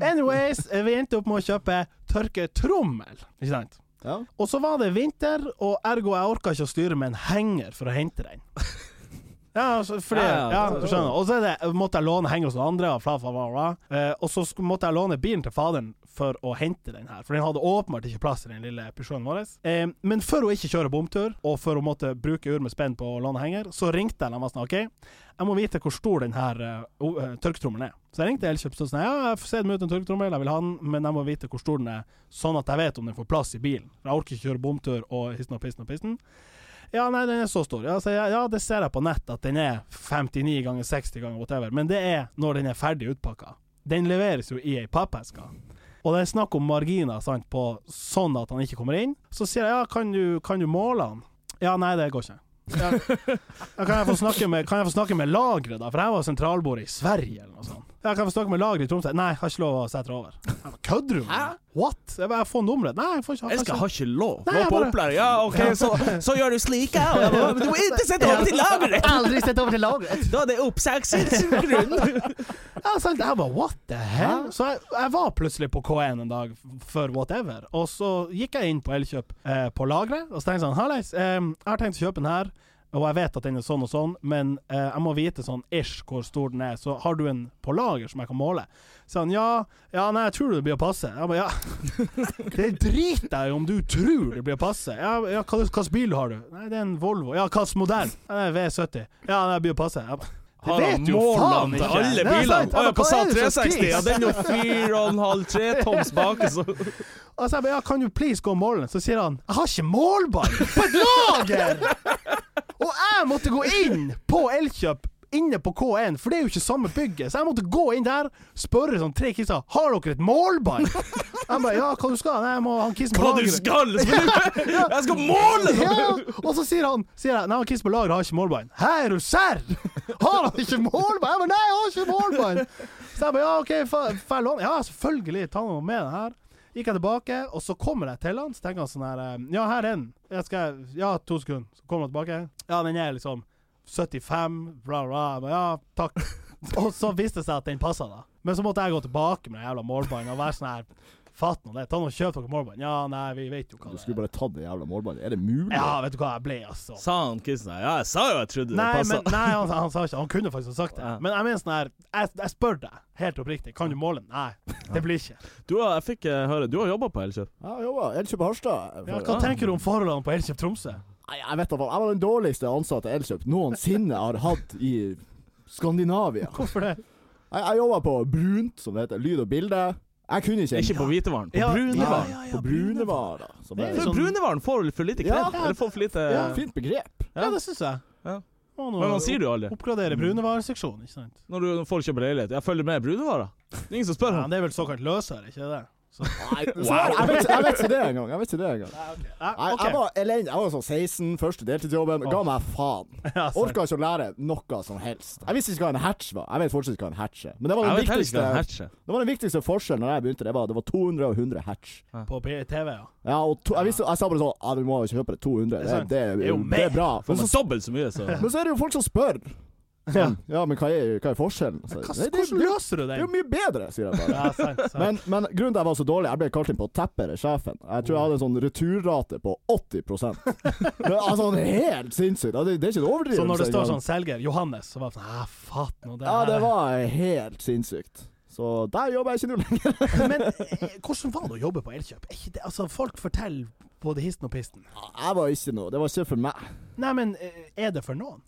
Speaker 1: Anyways, vi endte opp med å kjøpe tørketrommel, ikke sant?
Speaker 4: Ja.
Speaker 1: Og så var det vinter, og ergo jeg orka ikke å styre med en henger for å hente den. Ja, altså, fordi,
Speaker 3: Ja,
Speaker 1: ja,
Speaker 3: ja.
Speaker 1: du skjønner. Og så er det, måtte jeg låne henge hos noen andre, og bla, bla, bla, bla. Eh, og så skulle- måtte jeg låne bilen til faderen for å hente den her, for den hadde åpenbart ikke plass i den lille Peugeoten vår. Eh, men for å ikke kjøre bomtur, og for å måtte bruke ur med spenn på å låne henger, så ringte jeg dem og sa OK, jeg må vite hvor stor den her eh, o- eh, tørketrommelen er. Så jeg ringte Elkjøp og sa ja, jeg får se den ut en tørketrommel, jeg vil ha den, men jeg må vite hvor stor den er, sånn at jeg vet om den får plass i bilen. For jeg orker ikke kjøre bomtur og hissen og pissen og pissen. Ja, nei, den er så stor. Ja, så jeg, ja, det ser jeg på nett at den er 59 ganger 60 ganger whatever, men det er når den er ferdig utpakka. Den leveres jo i ei pappeske. Og det er snakk om marginer sant, på sånn at han ikke kommer inn. Så sier jeg ja, kan du, kan du måle han? Ja, nei, det går ikke. Ja. Ja, Kan, jeg få snakke med, kan jeg få snakke med lageret, da? For jeg var sentralbord i Sverige eller noe sånt. Ja, kan jeg få snakke med lageret i Tromsø? Nei, har ikke lov å sette over. Jeg bare, Kødder du med meg? What? Jeg bare, jeg får nummeret. Nei, jeg får ikke.
Speaker 3: Jeg skal, har ikke lov.
Speaker 1: Nei,
Speaker 3: Gå
Speaker 1: jeg
Speaker 3: på
Speaker 1: bare-
Speaker 3: opplæring. Ja, OK, så, så gjør du slik, ja. Og jeg bare, Men du må ikke sette opp til lageret!
Speaker 1: aldri sett over til lageret.
Speaker 3: Da er det oppsagsgrunn.
Speaker 1: Ja, sant? Jeg bare what the hell? Så jeg, jeg var plutselig på K1 en dag f- for whatever, og så gikk jeg inn på Elkjøp eh, på lageret og så tenkte jeg sånn Hallais, eh, jeg har tenkt å kjøpe den her, og jeg vet at den er sånn og sånn, men eh, jeg må vite sånn ish hvor stor den er, så har du en på lager som jeg kan måle? Så han ja, ja, nei, jeg tror det blir å passe. Jeg bare ja. [laughs] Det driter jeg i om du tror det blir å passe. Ja, ja hva slags bil har du? Nei, det er en Volvo. Ja, hvilken modell? Ja, det er V70. Ja, det blir å passe. Jeg bare,
Speaker 3: [laughs] Har han målene til alle
Speaker 1: Nei,
Speaker 3: bilene?
Speaker 1: sant,
Speaker 3: Å ja,
Speaker 1: jeg bare,
Speaker 3: hva sa
Speaker 1: er det som
Speaker 3: 360? Ja,
Speaker 1: skriks?
Speaker 3: den er jo fire og en halv tretoms bak, så
Speaker 1: Og så jeg bare, ja, kan du please gå og måle den? Så sier han, jeg har ikke målbar på et lager! Og jeg måtte gå inn på Elkjøp inne på K1, for det er jo ikke samme bygget. Så jeg måtte gå inn der, spørre sånn tre kisser, har dere et målbar? Jeg bare, ja, hva du skal? Nei, jeg må ha en kiss på
Speaker 3: Hva du
Speaker 1: lageret.
Speaker 3: skal? Jeg skal måle! nå!
Speaker 1: Ja, og så sier han sier jeg, Nei, han Kiss på lageret har ikke målbein. Hæ, er du serr? Har han ikke målbein? Jeg bare, nei, jeg har ikke målbein. Så jeg bare, ja, OK, fa- får jeg låne? Ja, selvfølgelig, ta noe med den her. Gikk jeg tilbake, og så kommer jeg til han, så tenker han sånn her eh, Ja, her er den. Jeg skal, ja, to sekunder. Så kommer han tilbake. Ja, den er liksom 75, bla, bla. Jeg bare, ja, takk. Og så viste det seg at den passa, da. Men så måtte jeg gå tilbake med den jævla målbeinen og være sånn her Fatt nå det. Ta nå og Kjøp dere målbein. Ja, nei, vi vet jo hva
Speaker 4: Du
Speaker 1: det er.
Speaker 4: skulle bare tatt det jævla målbåndet. Er det mulig?
Speaker 1: Ja, vet du hva, jeg ble altså
Speaker 3: Sa han kissen her? Ja, jeg sa jo jeg trodde det
Speaker 1: Nei, men,
Speaker 3: passa.
Speaker 1: nei han, han sa ikke Han kunne faktisk ha sagt det.
Speaker 3: Ja.
Speaker 1: Men jeg mener sånn her jeg, jeg spør deg helt oppriktig. Kan du måle den? Nei, det blir
Speaker 4: [laughs]
Speaker 1: ikke.
Speaker 3: Du har, jeg fikk eh, høre, du har jobba på Elkjøp?
Speaker 4: Ja, jobba. Elkjøp Harstad.
Speaker 1: Ja, hva tenker du om forholdene på Elkjøp Tromsø?
Speaker 4: Nei, jeg vet da faen. Jeg var den dårligste ansatte Elkjøp noensinne har hatt i Skandinavia.
Speaker 1: Hvorfor det?
Speaker 4: Jeg, jeg jobba på Brunt, som det heter. Lyd og bilde. Jeg kunne ikke
Speaker 3: Ikke på hvitevaren, på
Speaker 1: Ja,
Speaker 3: brunevaren.
Speaker 1: ja, ja,
Speaker 4: på brunevarer. Som
Speaker 1: Det
Speaker 4: er
Speaker 1: er jo
Speaker 3: For
Speaker 1: sånn-
Speaker 3: brunevaren får for lite
Speaker 4: Ja.
Speaker 3: kred. Eller får for lite
Speaker 4: ja, fint begrep.
Speaker 1: Ja, det syns jeg.
Speaker 3: Ja.
Speaker 1: Må nå
Speaker 3: Men han sier det jo aldri.
Speaker 1: Oppgradere brunevareseksjonen, ikke sant?
Speaker 3: Når du når folk kjøper leilighet. Jeg følger med brunevarer. Det er ingen som spør
Speaker 1: Ja,
Speaker 3: om.
Speaker 1: det er vel såkalt løsere, ikke det? Så,
Speaker 4: Jeg vet, jeg vet ikke det engang. Jeg vet ikke det engang. Jeg,
Speaker 1: ja, OK.
Speaker 4: jeg var elendig. Jeg var sånn 16, første deltidsjobben. Ga meg faen.
Speaker 1: [laughs] Ja, sant.
Speaker 4: Orka ikke å lære noe som helst. Jeg visste ikke hva en hatch var. Jeg vet fortsatt ikke hva en hatch er. Men det var
Speaker 3: Jeg
Speaker 4: den
Speaker 3: vet heller ikke
Speaker 4: viktigste,
Speaker 3: hva en hatch er.
Speaker 4: det var den viktigste forskjellen når jeg begynte. Det var, det var 200 og 100 hatch.
Speaker 1: På P- TV, ja.
Speaker 4: Ja, og to, jeg, visste, jeg sa bare sånn Ja, du må jo kjøpe det 200.
Speaker 1: Det er
Speaker 4: Det,
Speaker 1: sant.
Speaker 4: det, er-
Speaker 1: Det er jo
Speaker 4: det
Speaker 1: mer.
Speaker 4: er bra.
Speaker 3: Får
Speaker 4: Men
Speaker 3: man
Speaker 4: så,
Speaker 3: dobbelt så mye,
Speaker 1: [laughs]
Speaker 3: så
Speaker 4: men så er det jo folk som spør. Sånn, ja, men hva er, hva er forskjellen? Så,
Speaker 1: Hva,
Speaker 4: nei, det, er
Speaker 1: hvordan
Speaker 4: jo-
Speaker 1: løser du
Speaker 4: det er jo
Speaker 1: den?
Speaker 4: mye bedre, sier jeg bare.
Speaker 1: Ja, sant, sant.
Speaker 4: Men, men grunnen til at jeg var så dårlig, jeg ble kalt inn på teppet av sjefen. Jeg tror jeg hadde en sånn returrate på 80
Speaker 1: [laughs]
Speaker 4: Det er Altså det er helt sinnssykt. Det er- det er ikke en overdrivelse.
Speaker 1: Så når det står
Speaker 4: engang.
Speaker 1: sånn selger Johannes, så var det sånn Æ, fatt nå det
Speaker 4: Ja, det
Speaker 1: her.
Speaker 4: var helt sinnssykt. Så der jobber jeg ikke nå lenger. [laughs]
Speaker 1: Men eh, hvordan var det å jobbe på Elkjøp? Er ikke det, altså, folk forteller både hissen og pisten.
Speaker 4: Jeg var ikke noe. Det var ikke for meg.
Speaker 1: Nei, men eh, er det for noen?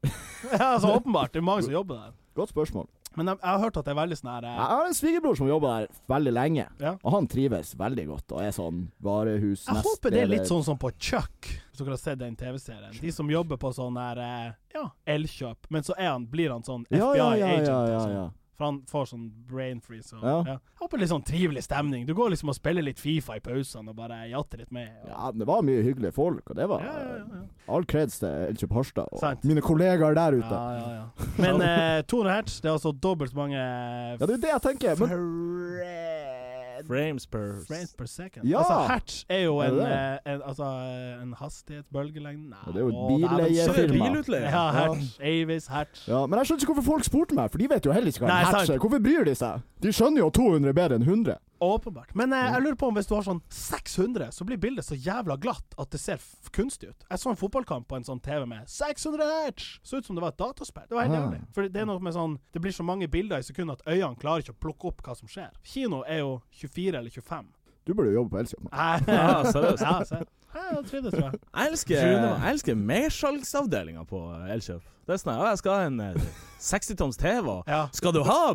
Speaker 1: [laughs] ja, altså åpenbart. Det er mange som jobber der.
Speaker 4: Godt spørsmål.
Speaker 1: Men jeg, jeg har hørt at det er veldig sånn her
Speaker 4: Jeg
Speaker 1: eh,
Speaker 4: har en svigerbror som jobber der veldig lenge,
Speaker 1: Ja.
Speaker 4: og han trives veldig godt og er sånn varehus
Speaker 1: Jeg håper det er litt sånn som på Chuck, hvis dere har sett den TV-serien. De som jobber på sånn her eh, ja, Elkjøp, men så er han, blir han sånn
Speaker 4: FBI-agent. Ja, ja,
Speaker 1: FBI-agent.
Speaker 4: ja, ja, ja.
Speaker 1: liksom. For han får sånn brain freeze. Og, ja.
Speaker 4: Ja.
Speaker 1: Jeg håper litt sånn trivelig stemning. Du går liksom og spiller litt Fifa i pausene og bare jatter litt med. Og,
Speaker 4: Ja, det var mye hyggelige folk, og det var
Speaker 1: ja, ja, ja.
Speaker 4: all kreds til Elkjøp Harstad og
Speaker 1: Sant.
Speaker 4: mine kollegaer der ute.
Speaker 1: Ja, ja,
Speaker 4: [laughs]
Speaker 1: ja. Men eh, 200 hertz, det er altså dobbelt så mange eh,
Speaker 4: Ja, det er jo det jeg tenker. Men
Speaker 1: fre-
Speaker 3: Frames per
Speaker 1: frames per second.
Speaker 4: Ja!
Speaker 1: Altså, hertz er jo
Speaker 4: Er
Speaker 1: en,
Speaker 4: det
Speaker 1: eh, en, altså, eh, en hastighet, bølgelengde Nei,
Speaker 4: Ja, det er jo et
Speaker 1: å, nei, men
Speaker 3: Så
Speaker 4: billeiefirma.
Speaker 1: kjør-
Speaker 3: det er bilutleie.
Speaker 1: Ja, hertz. Avis, hertz.
Speaker 4: Ja, Men jeg skjønner ikke hvorfor folk spurte meg, for de vet jo heller ikke hva
Speaker 1: Nei,
Speaker 4: en hatch
Speaker 1: sant.
Speaker 4: er. Hvorfor bryr de seg? De skjønner jo 200 bedre enn 100.
Speaker 1: Åpenbart. Men
Speaker 4: Mm.
Speaker 1: eh, jeg lurer på om hvis du har sånn 600, så blir bildet så jævla glatt at det ser f kunstig ut. Jeg så en fotballkamp på en sånn TV med 600 hertz! Så ut som det var et dataspill. Det var helt
Speaker 4: Ah.
Speaker 1: jævlig. For det er noe med sånn Det blir så mange bilder i sekundet at øynene klarer ikke å plukke opp hva som skjer. Kino er jo 24 eller 25.
Speaker 4: Du burde jo jobbe på
Speaker 1: Nei,
Speaker 4: Elkjøp. Ah.
Speaker 3: Ja, seriøst.
Speaker 1: Ja, se. Nei, jeg trodde det, tror jeg.
Speaker 3: Jeg elsker,
Speaker 1: Sjuende, da.
Speaker 3: jeg elsker mersalgsavdelinga på eh, Elkjøp. Det er sånn her, «Å, Jeg skal ha en eh, 60 toms TV. og
Speaker 1: [laughs] Ja.
Speaker 3: Skal du ha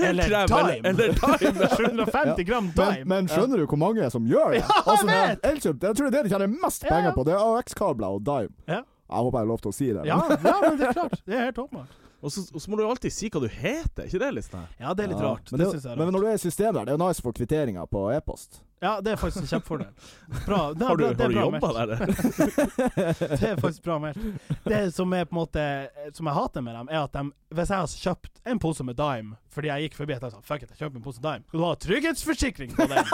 Speaker 1: [laughs] Eller Time.
Speaker 3: Eller time.
Speaker 1: 750 gram
Speaker 4: Men,
Speaker 1: dime.
Speaker 4: men skjønner du hvor mange som gjør det? altså, det er
Speaker 1: vet!
Speaker 4: Elkjøp, jeg tror det er det de tjener mest
Speaker 1: Ja.
Speaker 4: penger på. Det er AX-kabler og Dime.
Speaker 1: Ja.
Speaker 4: Jeg håper jeg har lov til å si det.
Speaker 1: Ja, ja, men det er klart. Det er helt åpenbart.
Speaker 3: Og så, og så må du jo alltid si hva du heter, ikke det? litt sånn her?
Speaker 1: Ja, det er litt
Speaker 4: Ja.
Speaker 1: rart.
Speaker 4: Men,
Speaker 1: Det
Speaker 4: det,
Speaker 1: syns jeg er
Speaker 4: men
Speaker 1: rart.
Speaker 4: når du er i systemet der, det er jo nice for kvitteringa på e-post.
Speaker 1: Ja, det er faktisk en kjempefordel. Bra. Det er
Speaker 3: Har du,
Speaker 1: bra- det er bra
Speaker 3: har du jobba
Speaker 1: meldt.
Speaker 3: der? eller?
Speaker 1: Det er faktisk bra meldt. Det som er på en måte Som jeg hater med dem, er at de Hvis jeg har kjøpt en pose med Dime fordi jeg gikk forbi og sa fuck it, jeg kjøper en pose Dime, skal du ha trygghetsforsikring på den?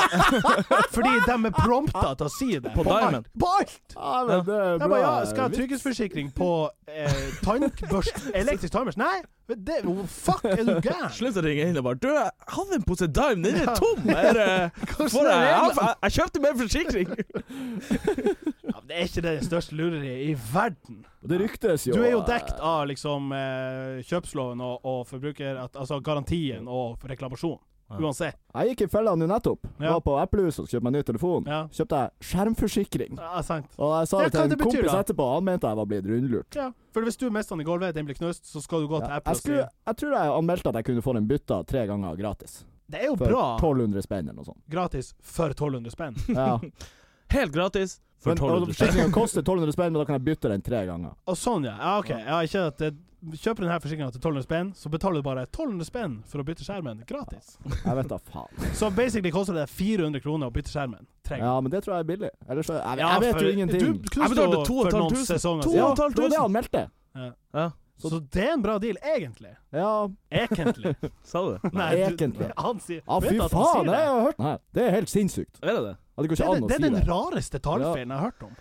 Speaker 1: fordi de er prompta til å si det.
Speaker 3: På Dimen.
Speaker 1: På alt!
Speaker 4: Ja, men det er
Speaker 1: Jeg
Speaker 4: bra. eh,
Speaker 1: bare, ja, skal jeg ha trygghetsforsikring på eh, tannbørst, elektrisk tannbørst? Nei! men Det, oh, fuck, er du gæren?
Speaker 3: Slutt å ringe inn og bare Du, jeg hadde en pose Dime, den er tom! Er, eh, [laughs] får
Speaker 1: er
Speaker 3: jeg,
Speaker 1: reglene?
Speaker 3: jeg, jeg kjøpte med forsikring!
Speaker 1: Ja, men det er ikke det største lureriet i verden.
Speaker 4: Det ryktes jo
Speaker 1: Du er jo dekt av liksom eh, kjøpsloven og, og forbruker... At, altså garantien og reklamasjon.
Speaker 3: Ja.
Speaker 1: Uansett.
Speaker 4: Jeg gikk i fella nå nettopp.
Speaker 1: Ja.
Speaker 4: Var på Applehuset og kjøpte meg ny telefon.
Speaker 1: Ja.
Speaker 4: Kjøpte jeg skjermforsikring.
Speaker 1: Ja, sant.
Speaker 4: Og jeg sa
Speaker 1: Ja, hva
Speaker 4: det til
Speaker 1: det
Speaker 4: en
Speaker 1: betyr,
Speaker 4: kompis
Speaker 1: da?
Speaker 4: etterpå, han mente jeg var blitt rundlurt.
Speaker 1: Ja, for hvis du mister den i gulvet, den blir knust, så skal du gå til
Speaker 4: Ja.
Speaker 1: Apple
Speaker 4: Jeg,
Speaker 1: og si
Speaker 4: skulle, jeg tror jeg anmeldte at jeg kunne få den bytta tre ganger gratis.
Speaker 1: Det er jo
Speaker 4: For
Speaker 1: bra
Speaker 4: 1200 spenn eller
Speaker 1: [laughs]
Speaker 4: noe sånt.
Speaker 1: gratis for 1200 spenn.
Speaker 4: Ja.
Speaker 3: [laughs] Helt gratis for
Speaker 4: Men,
Speaker 3: 1200
Speaker 4: og
Speaker 3: spenn.
Speaker 4: Forsikringen koster 1200 spenn, men da kan jeg bytte den tre ganger.
Speaker 1: Og sånn, ja. ja ok. Ja, ikke at det, kjøper du denne forsikringa til 1200 spenn, så betaler du bare 1200 spenn for å bytte skjermen gratis.
Speaker 4: Jeg
Speaker 1: [laughs]
Speaker 4: vet da faen.
Speaker 1: Så basically koster det 400 kroner å bytte skjermen. Tre ganger.
Speaker 4: Ja, men det tror jeg er billig. Ellers, så- jeg,
Speaker 1: Ja,
Speaker 4: jeg vet
Speaker 1: for-
Speaker 4: jo ingenting.
Speaker 1: Du knuste
Speaker 3: betalte
Speaker 1: jo
Speaker 3: to og et
Speaker 1: for
Speaker 3: halvt
Speaker 1: noen
Speaker 3: tusen.
Speaker 1: sesonger
Speaker 3: To
Speaker 1: siden.
Speaker 4: ja,
Speaker 3: og et halvt
Speaker 4: det var det
Speaker 3: tusen.
Speaker 4: han meldte.
Speaker 3: Ja,
Speaker 1: Så det er en bra deal, egentlig.
Speaker 4: Ja,
Speaker 1: Egentlig.
Speaker 3: sa du det?
Speaker 1: [laughs] Nei, du-
Speaker 4: egentlig.
Speaker 1: Han sier
Speaker 4: ah,
Speaker 1: Vet
Speaker 4: fy
Speaker 1: du at han
Speaker 4: faen,
Speaker 1: sier
Speaker 4: jeg
Speaker 1: det?
Speaker 4: har hørt den her. Det er helt sinnssykt.
Speaker 3: Er det det?
Speaker 4: Ja, Det går
Speaker 1: Det
Speaker 4: ikke
Speaker 1: er,
Speaker 4: an å
Speaker 1: det
Speaker 4: si
Speaker 1: er den
Speaker 4: det.
Speaker 1: rareste tallfeilen jeg har hørt om.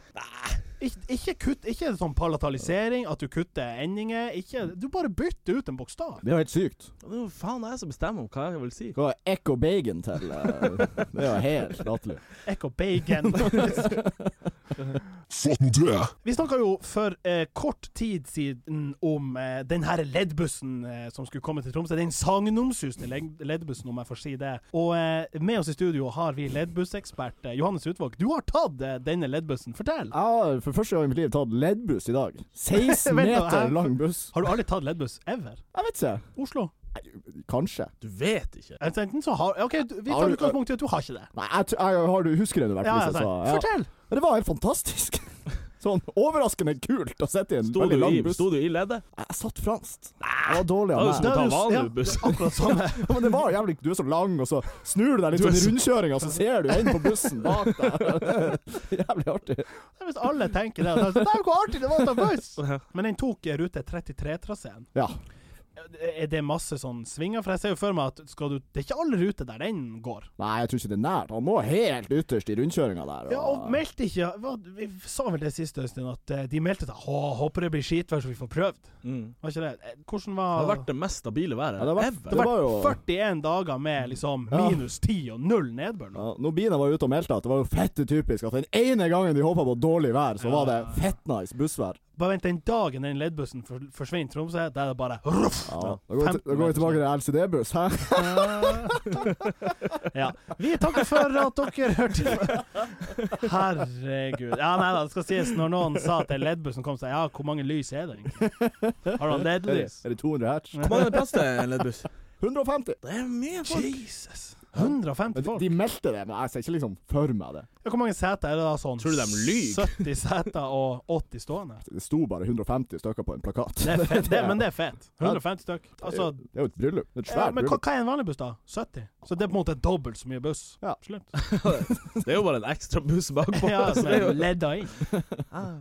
Speaker 1: Ik ikke kutt, ikke sånn palatalisering, at du kutter endinger. Ikke, du bare bytter ut en bokstav.
Speaker 4: Det er jo helt sykt.
Speaker 3: Det er jo faen jeg som bestemmer om hva jeg vil si.
Speaker 4: Hva er Echo Bacon til?
Speaker 1: [laughs]
Speaker 4: eh, Det er jo helt latterlig.
Speaker 1: Ekko bacon. Vi snakka jo for eh, kort tid siden om eh, den her leddbussen eh, som skulle komme til Tromsø. Den sagnomsusende led- leddbussen, om jeg får si det. Og eh, med oss i studio har vi leddbussekspert eh, Johannes Utvåg. Du har tatt eh, denne leddbussen. Fortell!
Speaker 4: Jeg har for første gang i mitt liv tatt leddbuss i dag. 16
Speaker 1: Vent nå,
Speaker 4: meter
Speaker 1: jeg-
Speaker 4: lang buss.
Speaker 1: Har du aldri tatt leddbuss ever?
Speaker 4: Jeg vet ikke.
Speaker 1: Oslo?
Speaker 4: Kanskje.
Speaker 3: Du vet ikke.
Speaker 1: Enten Eh, så har OK, du- vi
Speaker 4: Har
Speaker 1: tar
Speaker 4: du-
Speaker 1: utgangspunkt i at du har ikke det.
Speaker 4: Nei, jeg, tr- jeg har du husker det i hvert
Speaker 1: Ja,
Speaker 4: fall.
Speaker 1: ja,
Speaker 4: hvis jeg
Speaker 1: sant.
Speaker 4: sa- ja.
Speaker 1: Fortell!
Speaker 4: Men det var helt fantastisk. [laughs] Sånn overraskende kult å sitte i en
Speaker 3: Sto
Speaker 4: veldig
Speaker 3: du
Speaker 4: lang
Speaker 3: i,
Speaker 4: buss.
Speaker 3: sto du i leddet?
Speaker 4: Jeg jeg satt fransk. Jeg var dårlig
Speaker 3: Ja,
Speaker 4: av
Speaker 3: du
Speaker 4: meg.
Speaker 3: sto-
Speaker 1: Da er
Speaker 3: ta
Speaker 1: du-
Speaker 3: vanlig
Speaker 1: ja,
Speaker 3: buss.
Speaker 1: det er akkurat samme.
Speaker 4: Ja, Men det var jævlig Du er så lang, og så snur du deg litt
Speaker 3: Du er
Speaker 4: sånn i
Speaker 3: så-
Speaker 4: rundkjøringa, så ser du en på bussen bak deg. [laughs] Jævlig artig.
Speaker 1: Det er Hvis alle tenker det. at det er jo hvor artig det var å ta buss! Men den tok eh, rute 33-traseen.
Speaker 4: Ja.
Speaker 1: Er det masse sånn svinger? For jeg ser jo for meg at skal du, det er ikke alle ruter der den går.
Speaker 4: Nei, jeg tror ikke det er nært. Han må helt ytterst i rundkjøringa der.
Speaker 1: Ja, og meldte ikke hva, Vi sa vel det siste, Øystein, at eh, de meldte seg. Å, håper det blir skitvær så vi får prøvd.
Speaker 3: Mm.
Speaker 1: Var ikke det? Eh, Hvordan
Speaker 3: Det har
Speaker 1: var
Speaker 3: vært det mest stabile været
Speaker 4: Ja, det har vært-
Speaker 3: ever.
Speaker 4: det var jo
Speaker 1: 41 dager med liksom
Speaker 4: Ja.
Speaker 1: minus 10 og null nedbør nå.
Speaker 4: ja, når Bina var ute og meldte at det var jo fette typisk at den ene gangen de håpa på dårlig vær, så
Speaker 1: Ja,
Speaker 4: var det
Speaker 1: ja, ja.
Speaker 4: fett nice bussvær.
Speaker 1: Bare vent den dagen den leddbussen for, forsvinner i Tromsø, da er det bare ruff!
Speaker 4: Ja, da går vi,
Speaker 1: 15
Speaker 4: til- da går vi tilbake til LCD-buss, hæ?
Speaker 1: ja. Vi takker for at dere hørte Herregud. Ja, nei da, det skal sies når noen sa at det er leddbussen kom, så ja, hvor mange lys er det egentlig? Har du
Speaker 4: Er det,
Speaker 1: LED-lys?
Speaker 4: er det 200 hertz?
Speaker 3: Hvor mange plass til en leddbuss?
Speaker 4: 150!
Speaker 3: Det er mye folk.
Speaker 1: Jesus. 150
Speaker 4: Men de,
Speaker 1: folk.
Speaker 4: de meldte det, men jeg ser ikke liksom for meg det.
Speaker 1: Ja, Hvor mange seter er det da sånn?
Speaker 3: Tror du de lyger?
Speaker 1: 70 seter og 80 stående?
Speaker 4: Det sto bare 150 stykker på en plakat.
Speaker 1: Det er fett, det, men det er fett. 150 stykk. Altså,
Speaker 4: [laughs] det er jo et bryllup. Det er et
Speaker 1: ja,
Speaker 4: svært
Speaker 1: men hva,
Speaker 4: bryllup.
Speaker 1: hva er en vanlig buss, da? 70? Så det er på en måte dobbelt så mye buss?
Speaker 4: Ja.
Speaker 1: Slutt.
Speaker 3: Det er jo bare en ekstra buss bakpå.
Speaker 4: [laughs]
Speaker 1: Ja,
Speaker 3: så
Speaker 1: så
Speaker 3: det er jo...
Speaker 1: ledda inn.
Speaker 3: Ah.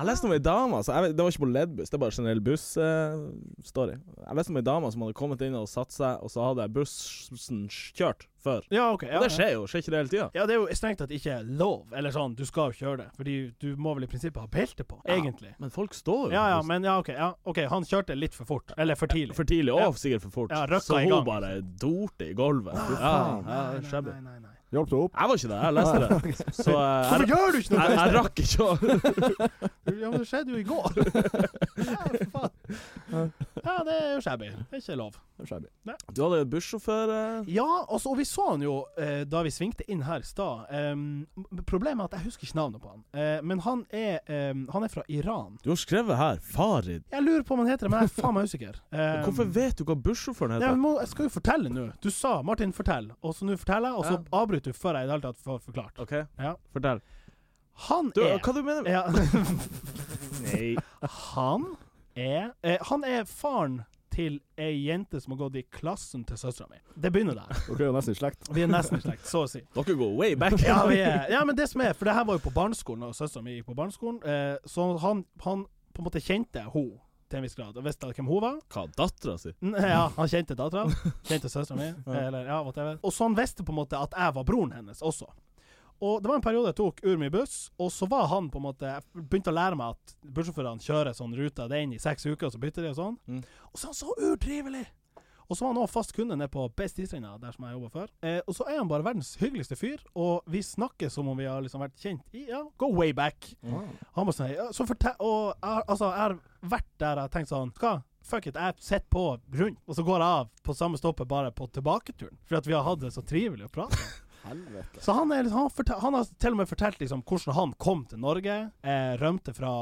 Speaker 3: Jeg leste om ei dame altså. jeg vet, Det var ikke på leddbuss, det er bare generell buss-story. jeg leste om ei dame som hadde kommet inn og satt seg, og så hadde bussen kjørt før.
Speaker 1: Ja, OK. Ja,
Speaker 3: Og det
Speaker 1: ja.
Speaker 3: skjer jo, skjer ikke det hele tida?
Speaker 1: Ja, det er jo strengt tatt ikke lov, eller sånn, du skal jo kjøre det, fordi du må vel i prinsippet ha belte på,
Speaker 3: Ja.
Speaker 1: egentlig.
Speaker 3: Men folk står jo
Speaker 1: Ja ja, men ja, OK, ja, ok, han kjørte litt for fort, eller for tidlig.
Speaker 3: for tidlig, og sikkert for fort.
Speaker 1: Ja, røkka
Speaker 3: så
Speaker 1: i
Speaker 3: hun
Speaker 1: gang.
Speaker 3: bare dorte i gulvet. Ja, ja, shabby.
Speaker 1: nei, nei.
Speaker 4: Hjalp det opp?
Speaker 3: Jeg var ikke det, jeg leste det.
Speaker 1: [laughs]
Speaker 3: Så eh,
Speaker 1: Hvorfor
Speaker 3: jeg,
Speaker 1: gjør du ikke noe?
Speaker 3: jeg, jeg rakk ikke å
Speaker 1: Ja, men det skjedde jo i [laughs] går. Ja, for faen. Ja, det er jo shabby. Det er ikke lov.
Speaker 4: Skjebne.
Speaker 3: Du hadde bussjåfør eh,
Speaker 1: Ja, altså, og så- og vi så han jo eh, da vi svingte inn her i stad. Em, problemet er at jeg husker ikke navnet på han. Eh, men han er, em, han er fra Iran.
Speaker 3: Du har skrevet her Farid.
Speaker 1: Jeg lurer på om han heter det, men jeg er faen meg usikker. [laughs] Em,
Speaker 3: Hvorfor vet du hva bussjåføren
Speaker 1: Nei,
Speaker 3: heter?
Speaker 1: jeg, må, jeg skal jo fortelle nå. Du sa 'Martin, fortell', og så nå forteller jeg, og så avbryter du før jeg i det hele tatt får forklart.
Speaker 3: OK,
Speaker 1: Ja.
Speaker 3: fortell.
Speaker 1: Han
Speaker 3: Du,
Speaker 1: er
Speaker 3: hva du mener
Speaker 1: ja, [laughs]
Speaker 3: Nei.
Speaker 1: Han er eh, Han er faren til ei jente som har gått i klassen til søstera mi. Det begynner der.
Speaker 4: Dere er jo nesten i slekt.
Speaker 1: Vi er nesten i slekt, så
Speaker 3: [laughs]
Speaker 1: å si.
Speaker 3: Dere går way back.
Speaker 1: Ja, vi er, ja, men det som er, for det her var jo på barneskolen, og søstera mi gikk på barneskolen, eh, så han, han på en måte kjente hun til en viss grad, og visste hvem hun var.
Speaker 3: Hva, dattera si?
Speaker 1: N- Ja, han kjente dattera. Kjente søstera mi. Eller ja, whatever. Og så han visste på en måte at jeg var broren hennes også. Og det var en periode jeg tok ur mye buss, og så var han på en måte Jeg begynte å lære meg at bussjåførene kjører sånn ruta den i seks uker, og så bytter de og sånn.
Speaker 3: Mm.
Speaker 1: Og så er han så utrivelig! Og så var han også fast kunde nede på Bestisringa, der som jeg jobba før. Eh, og så er han bare verdens hyggeligste fyr, og vi snakker som om vi har liksom vært kjent i ja, go way back. Han bare sånn ja, så fortel, Og jeg, har- altså, jeg har vært der jeg har tenkt sånn Hva? Fuck it, jeg sitter på rundt, og så går jeg av på samme stoppet bare på tilbaketuren. Fordi at vi har hatt det så trivelig å [laughs] prate.
Speaker 4: Helvete.
Speaker 1: Så han, er, liksom- han, fortel, han har til og med fortalt liksom, hvordan han kom til Norge. Eh, rømte fra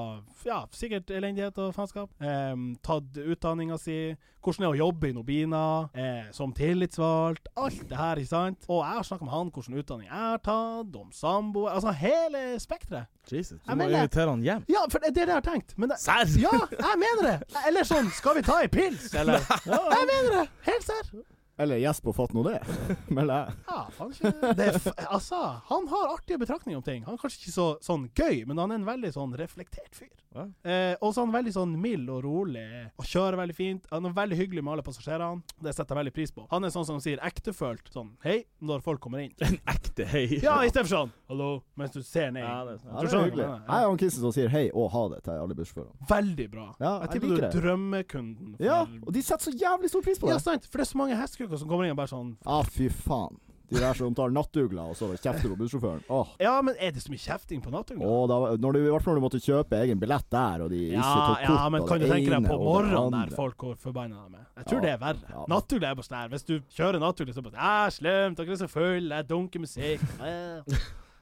Speaker 1: ja, sikkert elendighet og faenskap. Eh, tatt utdanninga si. Hvordan det er å jobbe i Nobina eh, som tillitsvalgt. Alt det her, ikke sant. Og jeg har snakka med han hvordan utdanning jeg har tatt, om samboer Altså hele spekteret.
Speaker 3: Jesus. Du
Speaker 1: Jeg
Speaker 3: må
Speaker 1: mener-
Speaker 3: invitere han hjem.
Speaker 1: Ja, for det er det jeg har tenkt. Men det,
Speaker 3: Serr?
Speaker 1: [laughs] ja, jeg mener det! Eller sånn, skal vi ta ei pils, eller? [laughs] Ja, jeg mener det! Helt serr.
Speaker 4: Eller gjest på Fatt nå det, [laughs] melder jeg.
Speaker 1: Ja, faen ikke det er f Altså, han har artige betraktninger om ting. Han er kanskje ikke så sånn gøy, men han er en veldig sånn reflektert fyr.
Speaker 3: Ja.
Speaker 1: Eh, og så er han veldig sånn mild og rolig, og kjører veldig fint. Han er veldig hyggelig med alle passasjerene. Det setter jeg veldig pris på. Han er sånn som sier ektefølt sånn hei når folk kommer inn.
Speaker 3: En [laughs] ekte hei.
Speaker 1: Ja, istedenfor sånn hallo, mens du ser ned.
Speaker 3: Ja, det er sant.
Speaker 1: Du
Speaker 4: Ja, det
Speaker 1: skjønner
Speaker 4: er
Speaker 1: hva
Speaker 4: hyggelig.
Speaker 1: jeg mener,
Speaker 4: Jeg
Speaker 1: ja.
Speaker 4: er han kissen som sier hei og ha det til alle bussjåførene.
Speaker 1: Veldig bra.
Speaker 4: Ja,
Speaker 1: jeg
Speaker 4: jeg
Speaker 1: tipper du
Speaker 4: liker
Speaker 1: er
Speaker 4: det.
Speaker 1: drømmekunden. for-
Speaker 4: Ja, og de setter så jævlig stor pris på
Speaker 1: Ja,
Speaker 4: det.
Speaker 1: sant. For det er så mange hestekuker som kommer inn og bare sånn
Speaker 4: Ja, Ah, fy faen. De der som tar nattugler, og så kjefter på bussjåføren. Åh.
Speaker 1: Ja, men er det så mye kjefting på nattøyet?
Speaker 4: Og da, var- når du, I hvert fall når du måtte kjøpe egen billett der, og de ikke
Speaker 1: Ja,
Speaker 4: tok kort
Speaker 1: ja, men
Speaker 4: og
Speaker 1: kan du
Speaker 4: det
Speaker 1: tenke deg
Speaker 4: ene
Speaker 1: på
Speaker 4: og det
Speaker 1: morgenen
Speaker 4: andre.
Speaker 1: der folk går forbanna med? Jeg tror
Speaker 4: Ja.
Speaker 1: det er verre.
Speaker 4: Ja.
Speaker 1: Nattugl er bare sånn her. Hvis du kjører nattugl, så bare Æh, slemt, dere er så fulle, jeg dunker musikk Æh.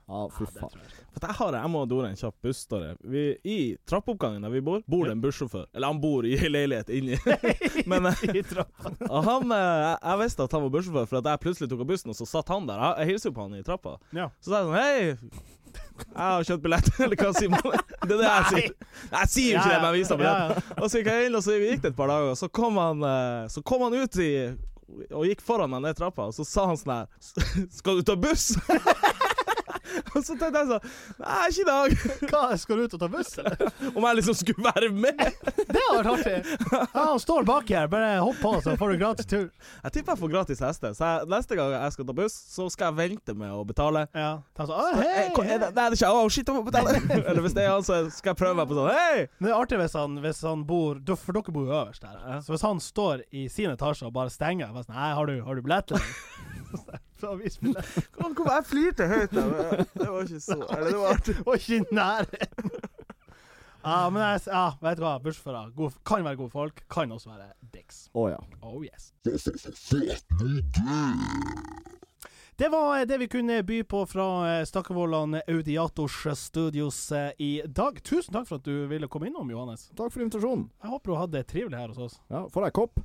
Speaker 4: Ja, fy
Speaker 1: Ja, det tror
Speaker 4: faen.
Speaker 1: jeg ikke.
Speaker 3: For jeg har jeg må dore en kjapp bussstory. Vi, I trappeoppgangen der vi bor, bor det en bussjåfør. Eller han bor i [laughs] ei leilighet inni.
Speaker 1: [laughs]
Speaker 3: Men eh,
Speaker 1: I
Speaker 3: [laughs]
Speaker 1: trappa.
Speaker 3: og han, eh, jeg- jeg visste at han var bussjåfør, for at jeg plutselig tok av bussen, og så satt han der. Jeg, jeg hilser jo på han i trappa.
Speaker 1: Ja.
Speaker 3: Så sa jeg sånn Hei, jeg har kjøpt billett. [laughs] Eller hva sier man? Det er det jeg sier. Nei, jeg sier jo ikke det, men jeg viser
Speaker 1: Ja,
Speaker 3: ham billett.
Speaker 1: ja.
Speaker 3: Og så gikk jeg inn, og så gikk det et par dager, og så kom han, eh, så kom han ut i og gikk foran meg ned trappa, og så sa han sånn her "S- Skal du ta buss? [laughs] og så tenkte jeg sånn Nei, ikke i dag.
Speaker 1: Hva, skal du ut og ta buss, eller?
Speaker 3: Om jeg liksom skulle være med.
Speaker 1: [laughs] Det hadde vært artig! Ja, han står baki her, bare hopp på, så får du gratis tur.
Speaker 3: Jeg tipper jeg får gratis heste, så jeg, neste gang jeg skal ta buss, så skal jeg vente med å betale.
Speaker 1: Ja. Ta sånn, «Å,
Speaker 3: Eh, hva-
Speaker 1: hei,
Speaker 3: er
Speaker 1: hei.
Speaker 3: det, nei, det er ikke Å, shit, jeg må betale. [laughs] Eller hvis det er han, så skal jeg prøve meg på sånn Hei!
Speaker 1: Men Det er artig hvis han, hvis han bor du- For dere bor jo øverst der.
Speaker 3: Ja.
Speaker 1: Så hvis han står i sin etasje og bare stenger bare sånn, Nei, har du, har du billett? eller?» Så vis billett.
Speaker 3: Kom, jeg flirte høyt der. Det var ikke så Eller det var artig.
Speaker 1: Og ikke i nærheten! [laughs] Ja, men jeg, s- ja, vet du hva, bussjåfører god- kan være gode folk, kan også være dicks.
Speaker 4: Å ja.
Speaker 1: Oh yes. Det var eh, det vi kunne by på fra eh, Stakkevollan Audiators Studios eh, i dag. Tusen takk for at du ville komme innom, Johannes.
Speaker 4: Takk for invitasjonen.
Speaker 1: Jeg håper du hadde det trivelig her hos oss.
Speaker 4: Ja, får jeg kopp?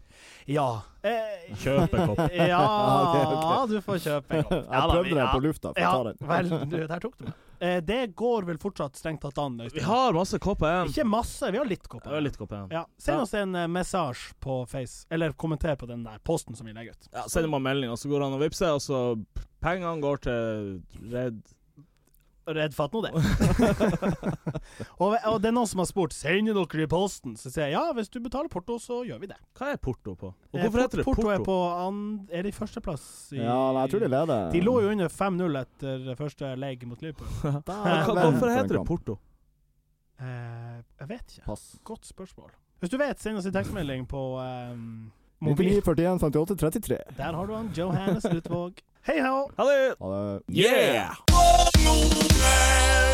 Speaker 1: Ja. Eh,
Speaker 3: Kjøp en kopp.
Speaker 1: [laughs] Ja, du får kjøpe en kopp.
Speaker 4: Jeg prøvde det på lufta. Får
Speaker 1: Ja,
Speaker 4: ta den.
Speaker 1: vel, du, der tok du meg. [laughs] Eh, det går vel fortsatt strengt tatt an. Øystein.
Speaker 3: Vi har masse kopper igjen.
Speaker 1: Ikke masse, vi har litt
Speaker 3: Det
Speaker 1: kopper.
Speaker 3: var litt kopp igjen.
Speaker 1: Ja, Send
Speaker 3: Ja.
Speaker 1: oss en eh, messasje på Face, eller kommenter på den der posten som vi legger ut.
Speaker 3: Ja, sender man melding, og så går han og vippser, og så pengene går til Red
Speaker 1: Redd fatt nå det. [laughs] og, og det er noen som har spurt Sender dere i posten. Så sier jeg ja, hvis du betaler porto, så gjør vi det.
Speaker 3: Hva er porto på? Og
Speaker 1: Eh,
Speaker 3: hvorfor
Speaker 1: port-
Speaker 3: heter det
Speaker 1: porto? er
Speaker 3: porto?
Speaker 1: på and, Er de førsteplass i
Speaker 4: [laughs] Ja, nei, jeg tror de leder.
Speaker 1: De lå jo under 5-0 etter første leg mot Liverpool.
Speaker 3: Men hva-
Speaker 4: Vent på
Speaker 3: Hvorfor
Speaker 4: en
Speaker 3: heter det
Speaker 4: kamp.
Speaker 3: porto?
Speaker 1: Eh, jeg vet ikke.
Speaker 4: Pass.
Speaker 1: Godt spørsmål. Hvis du vet, send oss en tekstmelding på ehm, mobil.
Speaker 4: 99, 41, 58, 33.
Speaker 1: Der har du han, Johannes Utvåg. Hei hå!
Speaker 3: Ha det!
Speaker 4: Ha det.
Speaker 5: Yeah!